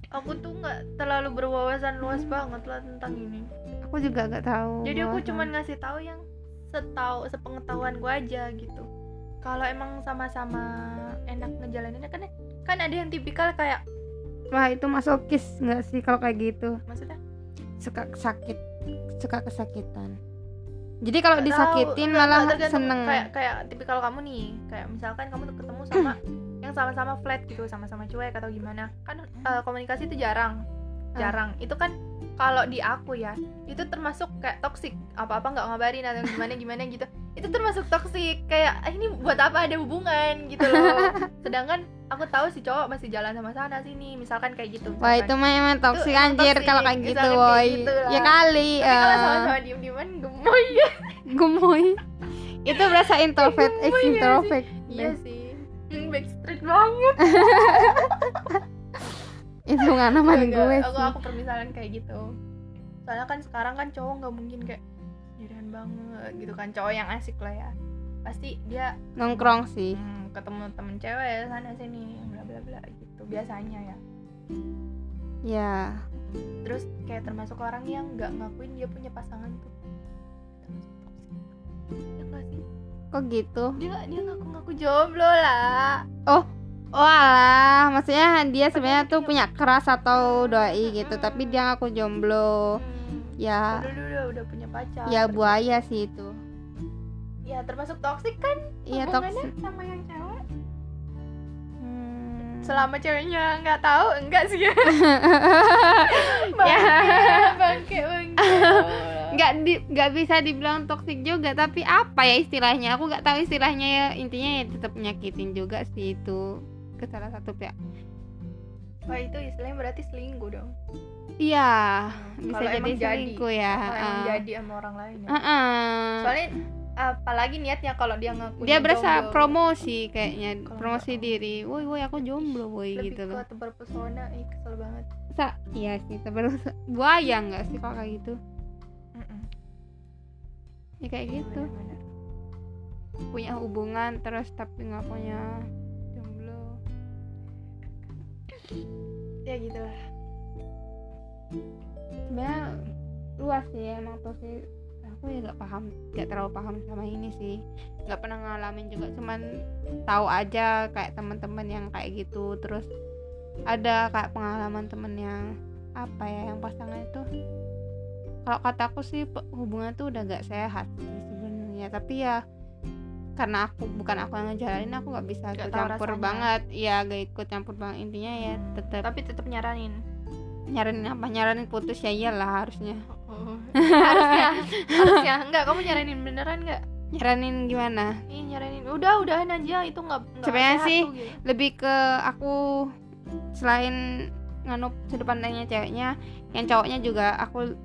[SPEAKER 2] aku tuh nggak terlalu berwawasan luas banget lah tentang ini
[SPEAKER 1] aku juga gak tahu
[SPEAKER 2] jadi aku
[SPEAKER 1] bahwa-
[SPEAKER 2] cuman ngasih tahu yang setau sepengetahuan gue aja gitu kalau emang sama-sama enak ngejalaninnya kan kan ada yang tipikal kayak
[SPEAKER 1] wah itu masokis nggak sih kalau kayak gitu
[SPEAKER 2] maksudnya
[SPEAKER 1] suka sakit suka kesakitan jadi kalau
[SPEAKER 2] Nggak
[SPEAKER 1] disakitin
[SPEAKER 2] tahu, nggak-
[SPEAKER 1] malah
[SPEAKER 2] nggak tergantung.
[SPEAKER 1] seneng
[SPEAKER 2] kayak kayak tipikal kamu nih kayak misalkan kamu tuh ketemu sama yang sama-sama flat gitu sama-sama cuek atau gimana kan eh, komunikasi itu jarang
[SPEAKER 1] Hmm. Ah.
[SPEAKER 2] jarang itu kan kalau di aku ya itu termasuk kayak toksik apa-apa nggak ngabarin atau gimana gimana gitu itu termasuk toksik kayak "Ah, ini buat apa ada hubungan gitu loh sedangkan aku tahu si cowok masih jalan sama sana sini misalkan kayak gitu
[SPEAKER 1] Wah
[SPEAKER 2] misalkan.
[SPEAKER 1] itu mah emang toksik
[SPEAKER 2] emang
[SPEAKER 1] anjir
[SPEAKER 2] toksik,
[SPEAKER 1] kalau kayak gitu
[SPEAKER 2] misalkan kayak
[SPEAKER 1] woi.
[SPEAKER 2] gitu lah.
[SPEAKER 1] Ya kali
[SPEAKER 2] tapi kalau
[SPEAKER 1] eh,
[SPEAKER 2] sama-sama diem-dieman gemoy Iya
[SPEAKER 1] gemoy. itu berasa introvert, ex
[SPEAKER 2] Gemoy ya
[SPEAKER 1] introvert.
[SPEAKER 2] iya sih Hmm, backstreet banget
[SPEAKER 1] Itu nggak naman
[SPEAKER 2] Enggak,
[SPEAKER 1] gue
[SPEAKER 2] aku,
[SPEAKER 1] sih.
[SPEAKER 2] aku permisalan kayak gitu soalnya kan sekarang kan cowok nggak mungkin kayak sendirian banget gitu kan cowok yang asik lah ya pasti dia
[SPEAKER 1] Nongkrong sih.
[SPEAKER 2] hmm, ketemu temen cewek sana sini bla bla bla gitu biasanya ya
[SPEAKER 1] Ya,
[SPEAKER 2] terus kayak termasuk orang yang nggak ngakuin dia punya pasangan tuh Termasuk toxic. ya nggak sih
[SPEAKER 1] kok gitu
[SPEAKER 2] dia dia ngaku-ngaku jomblo lah
[SPEAKER 1] walah Oh, maksudnya dia sebenarnya
[SPEAKER 2] Padahal
[SPEAKER 1] tuh
[SPEAKER 2] dia-
[SPEAKER 1] punya keras atau doi gitu tapi dia ngaku jomblo
[SPEAKER 2] Hmm.
[SPEAKER 1] ya
[SPEAKER 2] Padahal dia udah, udah punya pacar
[SPEAKER 1] ya buaya sih itu
[SPEAKER 2] ya termasuk toksik kan
[SPEAKER 1] iya
[SPEAKER 2] hubungannya
[SPEAKER 1] toksik
[SPEAKER 2] sama yang cewek
[SPEAKER 1] Hmm.
[SPEAKER 2] selama ceweknya nggak tahu enggak sih ya bangke
[SPEAKER 1] Ya.
[SPEAKER 2] bangke bangke
[SPEAKER 1] nggak di- nggak bisa dibilang toksik juga tapi apa ya istilahnya aku nggak tahu istilahnya ya intinya ya tetap nyakitin juga sih itu ke salah satu pihak
[SPEAKER 2] Wah itu istilahnya berarti selingkuh dong
[SPEAKER 1] iya bisa
[SPEAKER 2] Kalau
[SPEAKER 1] jadi
[SPEAKER 2] emang jadi.
[SPEAKER 1] selingkuh ya
[SPEAKER 2] Kalau yang
[SPEAKER 1] heeh.
[SPEAKER 2] jadi sama orang lain ya.
[SPEAKER 1] Heeh.
[SPEAKER 2] soalnya apalagi niatnya kalau dia ngaku
[SPEAKER 1] dia berasa promosi kayaknya
[SPEAKER 2] Kalau
[SPEAKER 1] promosi
[SPEAKER 2] nggak-
[SPEAKER 1] diri woi woi aku jomblo woi
[SPEAKER 2] lebih
[SPEAKER 1] gitu
[SPEAKER 2] ke
[SPEAKER 1] loh
[SPEAKER 2] tebar pesona ih kesel banget
[SPEAKER 1] Sa- iya sih terus buaya nggak sih kalau kayak gitu ya kayak gitu
[SPEAKER 2] Bener-bener.
[SPEAKER 1] punya hubungan terus tapi nggak punya jomblo
[SPEAKER 2] ya gitulah
[SPEAKER 1] sebenarnya luas sih ya, emang toxic aku ya nggak paham nggak terlalu paham sama ini sih nggak pernah ngalamin juga cuman tahu aja kayak teman-teman yang kayak gitu terus ada kayak pengalaman temen yang apa ya yang pasangan itu kalau kataku sih pe- hubungan tuh udah nggak sehat sih sebenarnya tapi ya karena aku bukan aku yang ngejalanin aku nggak bisa
[SPEAKER 2] Nggak
[SPEAKER 1] ikut
[SPEAKER 2] tahu
[SPEAKER 1] campur
[SPEAKER 2] rasanya.
[SPEAKER 1] banget ya gak ikut campur banget intinya ya tetap
[SPEAKER 2] tapi tetap nyaranin
[SPEAKER 1] nyaranin apa nyaranin putus ya iyalah harusnya
[SPEAKER 2] harusnya harusnya enggak kamu nyaranin beneran enggak
[SPEAKER 1] nyaranin gimana
[SPEAKER 2] ih nyaranin udah udahan aja itu enggak enggak
[SPEAKER 1] Sebenarnya
[SPEAKER 2] sehat
[SPEAKER 1] sih,
[SPEAKER 2] tuh, gitu.
[SPEAKER 1] lebih ke aku selain nganup sudut pandangnya ceweknya yang cowoknya juga aku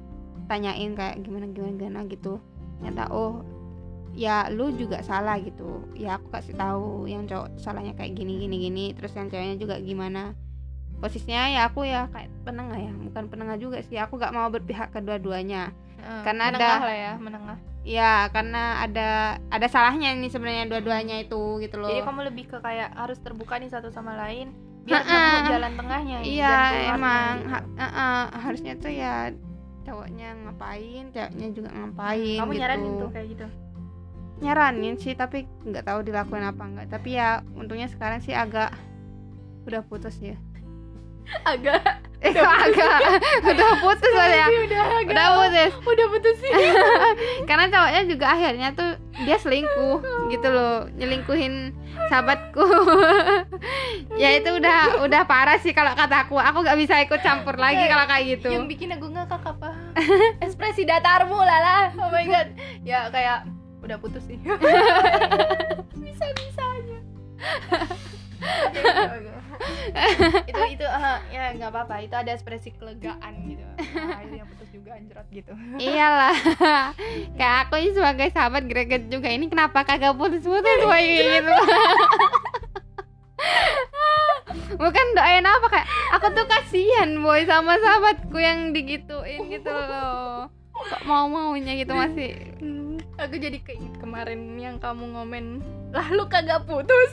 [SPEAKER 1] tanyain kayak gimana gimana gimana gitu nyata oh ya lu juga salah gitu ya aku kasih tahu yang cowok salahnya kayak gini gini gini terus yang ceweknya juga gimana posisinya ya aku ya kayak penengah ya bukan penengah juga sih aku gak mau berpihak kedua-duanya
[SPEAKER 2] Eh,
[SPEAKER 1] karena ada-
[SPEAKER 2] menengah lah ya menengah
[SPEAKER 1] ya karena ada ada salahnya nih sebenarnya dua-duanya itu gitu loh
[SPEAKER 2] jadi kamu lebih ke kayak harus terbuka nih satu sama lain biar
[SPEAKER 1] Ha-ha.
[SPEAKER 2] nemu jalan tengahnya
[SPEAKER 1] Iya
[SPEAKER 2] jalan keluarnya,
[SPEAKER 1] emang
[SPEAKER 2] gitu.
[SPEAKER 1] Ha- eh, eh, harusnya tuh ya cowoknya ngapain, ceweknya juga ngapain.
[SPEAKER 2] kamu
[SPEAKER 1] gitu.
[SPEAKER 2] nyaranin tuh kayak gitu
[SPEAKER 1] Nyaranin sih tapi nggak tahu dilakuin apa nggak. Tapi ya untungnya sekarang sih agak udah putus ya.
[SPEAKER 2] agak
[SPEAKER 1] Eh kok agak udah putus lah ya.
[SPEAKER 2] udah agak
[SPEAKER 1] Udah putus.
[SPEAKER 2] udah putus sih
[SPEAKER 1] Karena cowoknya juga akhirnya tuh dia selingkuh gitu loh, nyelingkuhin sahabatku. ya itu udah udah parah sih kalau kata aku. Aku nggak bisa ikut campur lagi kalau kayak gitu.
[SPEAKER 2] yang bikin aku ngakak apa ekspresi datarmu lala oh my god ya kayak udah putus sih bisa bisanya itu itu eh, ya nggak apa-apa itu ada ekspresi kelegaan gitu Ah, itu yang putus juga anjrot gitu
[SPEAKER 1] iyalah kayak aku ini sebagai sahabat greget juga ini kenapa kagak putus-putus gue gitu bukan doain apa kayak aku tuh kasihan boy sama sahabatku yang digituin gitu loh kok mau maunya gitu masih
[SPEAKER 2] Hmm, aku jadi keinget kemarin yang kamu ngomen lah lu kagak putus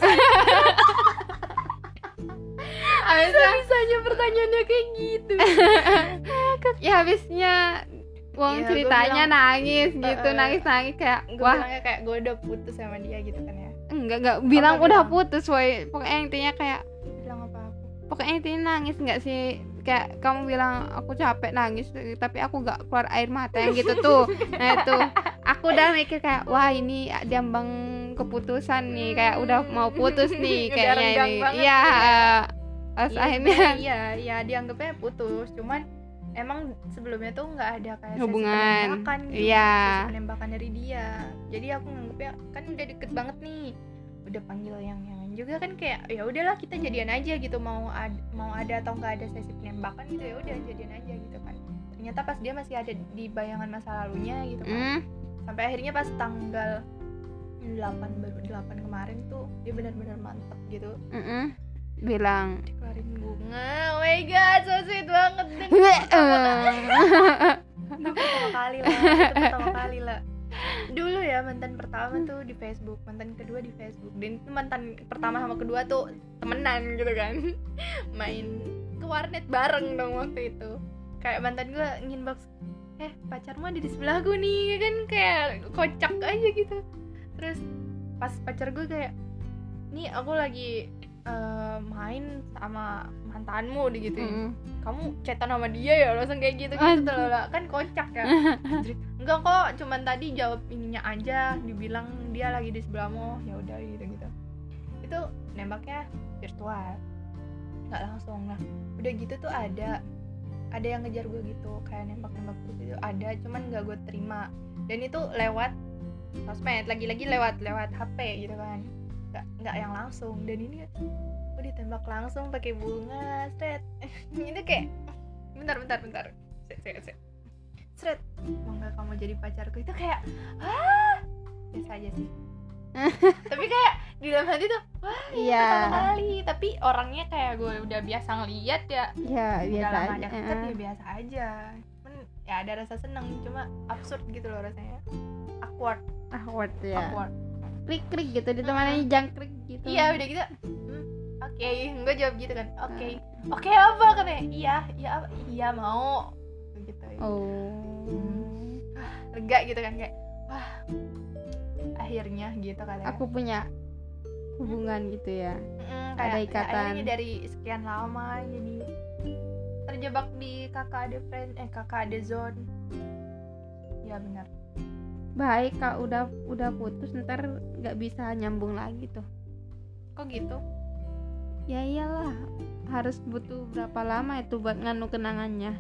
[SPEAKER 2] bisa bisanya pertanyaannya kayak gitu
[SPEAKER 1] ya habisnya
[SPEAKER 2] Iya,
[SPEAKER 1] uang
[SPEAKER 2] gua
[SPEAKER 1] ceritanya
[SPEAKER 2] bilang-
[SPEAKER 1] nangis gitu
[SPEAKER 2] Eh, eh.
[SPEAKER 1] nangis nangis kayak
[SPEAKER 2] gue
[SPEAKER 1] wah
[SPEAKER 2] bilangnya kayak gue udah putus sama dia gitu kan ya
[SPEAKER 1] enggak enggak bilang
[SPEAKER 2] Apa
[SPEAKER 1] udah
[SPEAKER 2] bilang?
[SPEAKER 1] putus boy pokoknya intinya kayak
[SPEAKER 2] bilang apa aku
[SPEAKER 1] pokoknya intinya nangis nggak sih kayak kamu bilang aku capek nangis tapi aku nggak keluar air mata yang gitu tuh nah itu aku udah mikir kayak wah ini jambang keputusan nih kayak udah mau putus
[SPEAKER 2] Udah
[SPEAKER 1] nih kayaknya
[SPEAKER 2] renggang
[SPEAKER 1] ini
[SPEAKER 2] banget
[SPEAKER 1] ya
[SPEAKER 2] ya.
[SPEAKER 1] terus
[SPEAKER 2] Iya,
[SPEAKER 1] akhirnya
[SPEAKER 2] sebenarnya iya iya dianggapnya putus cuman emang sebelumnya tuh nggak ada kayak sesi
[SPEAKER 1] Hubungan.
[SPEAKER 2] penembakan gitu,
[SPEAKER 1] Iya.
[SPEAKER 2] sesi penembakan dari dia jadi aku nganggepnya kan udah deket banget nih udah panggil yang yang juga kan kayak ya udahlah kita jadian aja gitu mau ad- mau ada atau nggak ada sesi penembakan gitu ya udah jadian aja gitu kan ternyata pas dia masih ada di bayangan masa lalunya gitu kan
[SPEAKER 1] hmm,
[SPEAKER 2] sampai akhirnya pas tanggal 8 baru 8 kemarin tuh dia benar-benar mantep gitu
[SPEAKER 1] mm-mm, hmm, bilang
[SPEAKER 2] dikeluarin bunga oh my god so sweet banget Dan itu pertama kali lah itu pertama kali lah dulu ya mantan pertama tuh di Facebook mantan kedua di Facebook dan itu mantan pertama sama kedua tuh temenan gitu kan main ke warnet bareng dong waktu itu kayak mantan gue nginbox eh pacarmu ada di sebelah gue nih kan kayak kocak aja gitu terus pas pacar gue kayak nih aku lagi eh, main sama mantanmu gitu kamu cetan sama dia ya langsung kayak gitu gitu
[SPEAKER 1] Aduh.
[SPEAKER 2] loh lah. kan kocak ya Jadi, enggak kok cuman tadi jawab ininya aja dibilang dia lagi di sebelahmu ya udah gitu gitu itu nembaknya virtual nggak langsung lah udah gitu tuh ada ada yang ngejar gue gitu kayak nembak nembak terus itu ada cuman nggak gue terima dan itu lewat sosmed lagi-lagi lewat lewat HP gitu kan nggak nggak yang langsung dan ini gue ditembak langsung pakai bunga seret itu kayak bentar bentar bentar seret seret seret seret mau nggak kamu jadi pacarku itu kayak ah biasa aja sih tapi kayak di dalam hati tuh wah ini
[SPEAKER 1] Iya.
[SPEAKER 2] pertama kali tapi orangnya kayak gue udah biasa ngeliat ya
[SPEAKER 1] ya
[SPEAKER 2] udah
[SPEAKER 1] biasa
[SPEAKER 2] lama
[SPEAKER 1] aja
[SPEAKER 2] deket ya biasa aja cuman ya ada rasa seneng cuma absurd gitu loh rasanya awkward
[SPEAKER 1] awkward ya
[SPEAKER 2] awkward Ah.
[SPEAKER 1] krik krik gitu ditemani jangkrik gitu
[SPEAKER 2] iya udah gitu hmm, oke gue jawab gitu kan oke
[SPEAKER 1] Hmm.
[SPEAKER 2] oke apa katanya iya iya apa? iya mau gitu
[SPEAKER 1] oh
[SPEAKER 2] lega gitu kan kayak wah akhirnya gitu katanya
[SPEAKER 1] aku punya hubungan gitu ya
[SPEAKER 2] Mm,
[SPEAKER 1] ada
[SPEAKER 2] kayak ya,
[SPEAKER 1] ikatan.
[SPEAKER 2] akhirnya dari sekian lama jadi terjebak di kakak ada friend eh kakak ada zone ya benar
[SPEAKER 1] baik kalau udah udah putus ntar nggak bisa nyambung lagi tuh
[SPEAKER 2] kok gitu
[SPEAKER 1] ya iyalah harus butuh berapa lama itu buat nganu kenangannya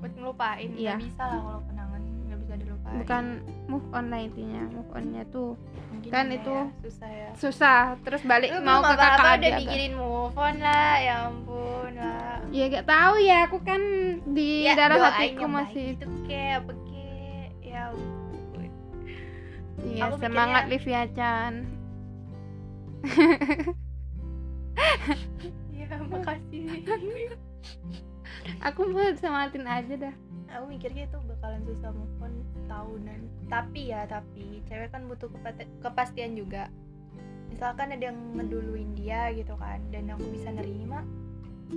[SPEAKER 2] buat ngelupain nggak
[SPEAKER 1] Iya.
[SPEAKER 2] bisa lah kalau kenangan nggak bisa dilupain
[SPEAKER 1] bukan move on lah intinya move onnya tuh
[SPEAKER 2] Mungkin
[SPEAKER 1] kan
[SPEAKER 2] gimana
[SPEAKER 1] itu
[SPEAKER 2] ya, susah ya
[SPEAKER 1] susah terus balik
[SPEAKER 2] Lu
[SPEAKER 1] mau
[SPEAKER 2] belum
[SPEAKER 1] ke
[SPEAKER 2] apa-apa
[SPEAKER 1] kakak
[SPEAKER 2] udah
[SPEAKER 1] adik atau-
[SPEAKER 2] mikirin move on lah ya ampun lah
[SPEAKER 1] ya gak tahu ya aku kan di
[SPEAKER 2] ya,
[SPEAKER 1] darah
[SPEAKER 2] doain
[SPEAKER 1] hatiku
[SPEAKER 2] yang
[SPEAKER 1] masih
[SPEAKER 2] baik itu ke apa ke ya ampun.
[SPEAKER 1] Iya,
[SPEAKER 2] Aku
[SPEAKER 1] semangat Livia Chan
[SPEAKER 2] ya makasih
[SPEAKER 1] aku mau semangatin aja dah
[SPEAKER 2] aku mikirnya itu bakalan susah move on tahunan tapi ya tapi cewek kan butuh kepate- kepastian juga misalkan ada yang ngeduluin dia gitu kan dan aku bisa nerima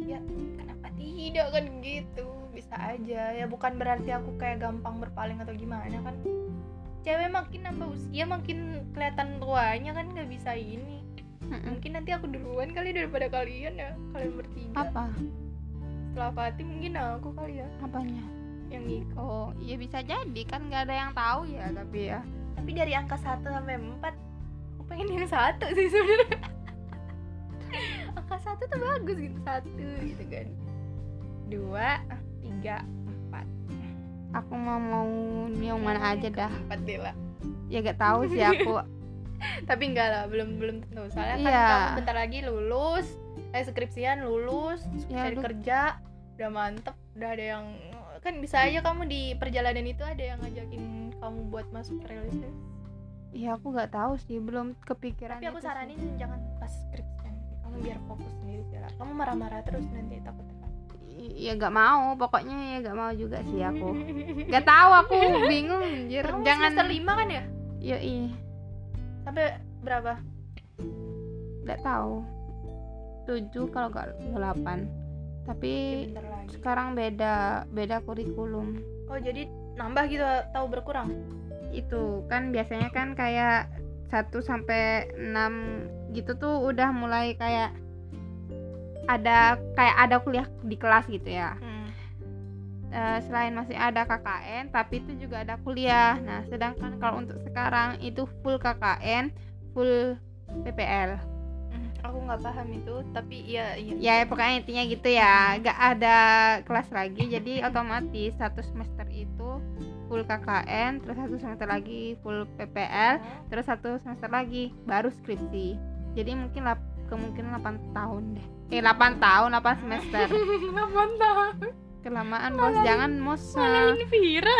[SPEAKER 2] ya kenapa tidak kan gitu bisa aja ya bukan berarti aku kayak gampang berpaling atau gimana kan cewek makin nambah usia makin kelihatan tuanya kan nggak bisa ini
[SPEAKER 1] Mm-mm.
[SPEAKER 2] mungkin nanti aku duluan kali daripada kalian ya kalian bertiga
[SPEAKER 1] apa
[SPEAKER 2] setelah Fatih mungkin aku kali ya
[SPEAKER 1] apanya
[SPEAKER 2] yang ngikut
[SPEAKER 1] oh iya bisa jadi kan nggak ada yang tahu ya tapi ya
[SPEAKER 2] tapi dari angka 1 sampai 4 aku pengen yang satu sih sebenarnya angka satu tuh bagus gitu satu gitu kan dua tiga empat
[SPEAKER 1] aku mau mau yang mana aja dah
[SPEAKER 2] empat deh lah
[SPEAKER 1] ya gak tahu sih aku
[SPEAKER 2] tapi enggak lah belum belum tentu soalnya
[SPEAKER 1] Iya.
[SPEAKER 2] kan kamu bentar lagi lulus eh skripsian lulus
[SPEAKER 1] Ya,
[SPEAKER 2] cari
[SPEAKER 1] aduh.
[SPEAKER 2] kerja udah mantep udah ada yang kan bisa aja kamu di perjalanan itu ada yang ngajakin kamu buat masuk realisasi
[SPEAKER 1] ya aku nggak tahu sih belum kepikiran
[SPEAKER 2] tapi aku
[SPEAKER 1] itu Gitu sih.
[SPEAKER 2] saranin jangan pas skripsian kamu biar fokus sendiri sih lah kamu marah-marah terus nanti takut
[SPEAKER 1] ya nggak mau pokoknya ya nggak mau juga sih aku nggak tahu aku bingung anjir
[SPEAKER 2] Hmm. kamu jangan
[SPEAKER 1] jangan
[SPEAKER 2] semester lima kan ya
[SPEAKER 1] yoi
[SPEAKER 2] sampai berapa
[SPEAKER 1] nggak tahu tujuh kalau nggak delapan tapi
[SPEAKER 2] Iya, bentar lagi
[SPEAKER 1] Iya, sekarang beda beda kurikulum
[SPEAKER 2] oh jadi nambah gitu tahu berkurang
[SPEAKER 1] itu kan biasanya kan kayak 1 sampai 6 gitu tuh udah mulai kayak ada kayak ada kuliah di kelas gitu ya.
[SPEAKER 2] Hmm,
[SPEAKER 1] Eh, selain masih ada KKN, tapi itu juga ada kuliah. Nah, sedangkan kalau untuk sekarang itu full KKN, full PPL.
[SPEAKER 2] Hmm, aku nggak paham itu tapi ya iya
[SPEAKER 1] Ya pokoknya intinya gitu ya, nggak ada kelas lagi. Jadi otomatis satu semester itu full KKN, terus satu semester lagi full PPL, terus satu semester lagi baru skripsi jadi mungkin lap- kemungkinan 8 tahun deh eh 8 tahun 8 semester
[SPEAKER 2] Kenapa entah?
[SPEAKER 1] kelamaan bos jangan mos eh.
[SPEAKER 2] Ini Vira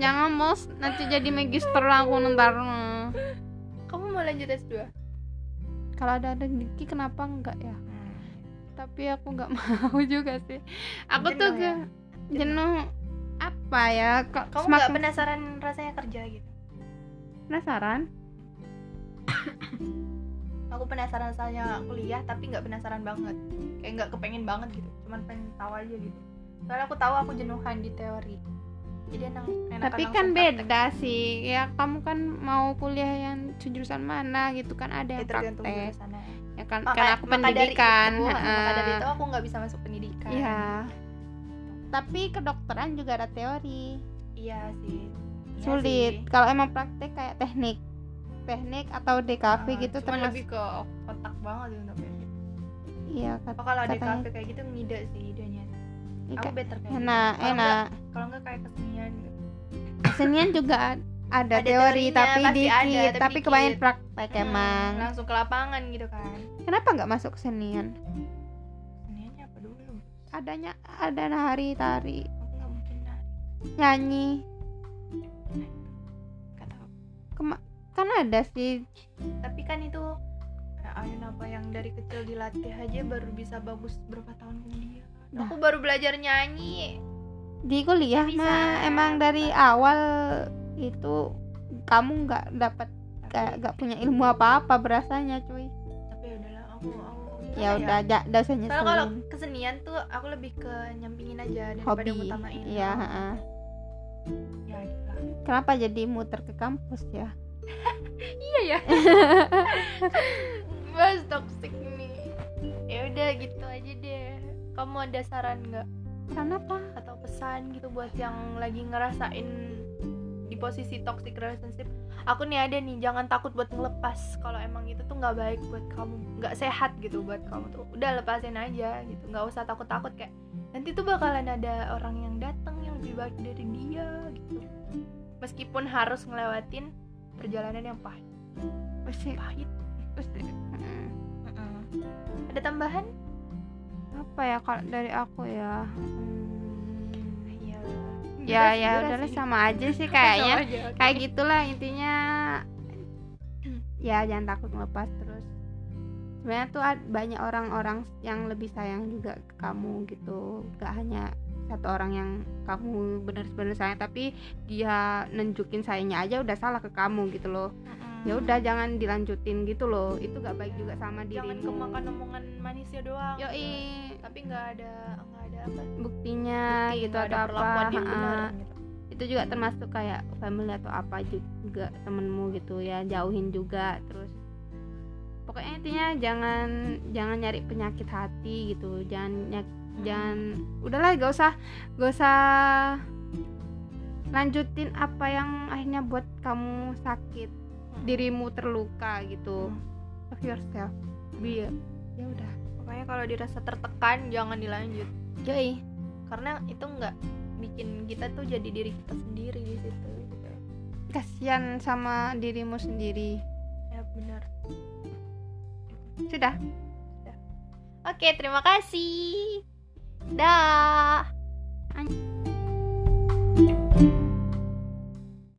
[SPEAKER 1] jangan mos nanti jadi magister lah aku ntar eh.
[SPEAKER 2] Kamu mau lanjut S2?
[SPEAKER 1] kalau ada ada Diki kenapa enggak ya
[SPEAKER 2] Hmm.
[SPEAKER 1] tapi aku nggak mau juga sih aku tuh
[SPEAKER 2] Jenuh ya?
[SPEAKER 1] ke- jenuh apa ya
[SPEAKER 2] Kamu
[SPEAKER 1] kok
[SPEAKER 2] nggak
[SPEAKER 1] semakin
[SPEAKER 2] penasaran rasanya kerja gitu?
[SPEAKER 1] penasaran
[SPEAKER 2] Aku penasaran rasanya kuliah tapi nggak penasaran banget Kayak nggak kepengen banget gitu Cuman pengen tahu aja gitu Soalnya aku tahu aku jenuhan di teori jadi enak enakan
[SPEAKER 1] tapi
[SPEAKER 2] langsung
[SPEAKER 1] kan
[SPEAKER 2] praktek.
[SPEAKER 1] beda sih ya kamu kan mau kuliah yang jurusan mana gitu kan ada
[SPEAKER 2] Ya,
[SPEAKER 1] yang
[SPEAKER 2] tergantung
[SPEAKER 1] praktek
[SPEAKER 2] jurusannya.
[SPEAKER 1] ya kan
[SPEAKER 2] Maka-
[SPEAKER 1] karena aku
[SPEAKER 2] maka dari
[SPEAKER 1] pendidikan
[SPEAKER 2] itu, maka dari
[SPEAKER 1] heeh.
[SPEAKER 2] itu aku nggak bisa masuk pendidikan
[SPEAKER 1] Iya. tapi kedokteran juga ada teori
[SPEAKER 2] iya sih Iya
[SPEAKER 1] sulit
[SPEAKER 2] sih.
[SPEAKER 1] kalau emang praktek kayak teknik teknik atau DKV
[SPEAKER 2] Ah,
[SPEAKER 1] gitu
[SPEAKER 2] cuman
[SPEAKER 1] termasuk
[SPEAKER 2] lebih ke otak banget untuk gitu.
[SPEAKER 1] iya kat-
[SPEAKER 2] Oh, kalau ada
[SPEAKER 1] Katanya-
[SPEAKER 2] kafe kayak gitu ngide sih idenya. Aku
[SPEAKER 1] kayak-
[SPEAKER 2] better kayak
[SPEAKER 1] enak
[SPEAKER 2] gitu. Kalau
[SPEAKER 1] enak
[SPEAKER 2] nggak- Kalau nggak kayak kesenian gitu.
[SPEAKER 1] kesenian juga ad- ada,
[SPEAKER 2] Ada
[SPEAKER 1] teori
[SPEAKER 2] teorinya,
[SPEAKER 1] tapi
[SPEAKER 2] pasti
[SPEAKER 1] dikit
[SPEAKER 2] ada, tapi
[SPEAKER 1] tapi kebanyakan
[SPEAKER 2] dikit.
[SPEAKER 1] praktek
[SPEAKER 2] Mm-mm,
[SPEAKER 1] emang
[SPEAKER 2] Hmm, langsung ke lapangan gitu kan.
[SPEAKER 1] kenapa nggak masuk kesenian
[SPEAKER 2] Keseniannya apa dulu?
[SPEAKER 1] adanya ada nari tari
[SPEAKER 2] Aku nggak mungkin lah.
[SPEAKER 1] nyanyi
[SPEAKER 2] Nggak tahu.
[SPEAKER 1] kan ada sih
[SPEAKER 2] Tapi kan itu eh, Ayun apa yang dari kecil dilatih aja baru bisa bagus berapa tahun kemudian.
[SPEAKER 1] Nah.
[SPEAKER 2] Aku baru belajar nyanyi.
[SPEAKER 1] di kuliah
[SPEAKER 2] Bisa.
[SPEAKER 1] mah emang dari awal itu kamu nggak dapat
[SPEAKER 2] Tapi,
[SPEAKER 1] kayak nggak punya ilmu apa apa berasanya cuy
[SPEAKER 2] tapi ya udahlah aku aku gimana
[SPEAKER 1] ya udah ja, nggak usah
[SPEAKER 2] Iya. Soalnya kalau
[SPEAKER 1] nyeselin
[SPEAKER 2] kesenian tuh aku lebih ke nyampingin aja daripada
[SPEAKER 1] hobi
[SPEAKER 2] ngutamain.
[SPEAKER 1] ya heeh.
[SPEAKER 2] Ya gitu lah.
[SPEAKER 1] kenapa jadi muter ke kampus ya
[SPEAKER 2] iya ya bahas toxic nih ya udah gitu aja deh kamu ada saran nggak
[SPEAKER 1] karena apa
[SPEAKER 2] atau pesan gitu buat yang lagi ngerasain di posisi toxic relationship aku nih ada nih jangan takut buat ngelepas kalau emang itu tuh nggak baik buat kamu nggak sehat gitu buat kamu tuh udah lepasin aja gitu nggak usah takut takut kayak nanti tuh bakalan ada orang yang datang yang lebih baik dari dia gitu meskipun harus ngelewatin perjalanan yang pahit
[SPEAKER 1] Pusing,
[SPEAKER 2] pahit
[SPEAKER 1] pusing. Heeh.
[SPEAKER 2] Ada tambahan?
[SPEAKER 1] apa ya kalau dari aku ya Hmm.
[SPEAKER 2] Iya.
[SPEAKER 1] ya ya udahlah sama aja sih kayaknya kayak gitulah intinya ya jangan takut ngelepas terus sebenarnya tuh ad- banyak orang-orang yang lebih sayang juga ke kamu gitu gak hanya satu orang yang kamu benar-benar sayang tapi dia nunjukin sayangnya aja udah salah ke kamu gitu loh ya udah jangan dilanjutin gitu loh itu gak baik juga sama
[SPEAKER 2] Hmm. Jangan
[SPEAKER 1] dirimu
[SPEAKER 2] kemakan omongan manisnya doang.
[SPEAKER 1] yoi
[SPEAKER 2] Tapi nggak ada nggak ada apa?
[SPEAKER 1] buktinya
[SPEAKER 2] bukti,
[SPEAKER 1] gitu
[SPEAKER 2] nggak
[SPEAKER 1] atau
[SPEAKER 2] ada perlakuan
[SPEAKER 1] apa
[SPEAKER 2] yang benar.
[SPEAKER 1] ha-ha.
[SPEAKER 2] gitu.
[SPEAKER 1] itu juga termasuk kayak family atau apa juga temenmu gitu ya jauhin juga terus pokoknya intinya jangan jangan nyari penyakit hati gitu jangan nyak- jangan udahlah gak usah gak usah lanjutin apa yang akhirnya buat kamu sakit
[SPEAKER 2] Hmm.
[SPEAKER 1] dirimu terluka gitu love yourself be a- ya udah
[SPEAKER 2] Pokoknya kalau dirasa tertekan jangan dilanjut
[SPEAKER 1] joy
[SPEAKER 2] karena itu nggak bikin kita tuh jadi diri kita sendiri di situ. gitu.
[SPEAKER 1] kasihan sama dirimu sendiri
[SPEAKER 2] Ya benar.
[SPEAKER 1] sudah
[SPEAKER 2] Oke, terima kasih.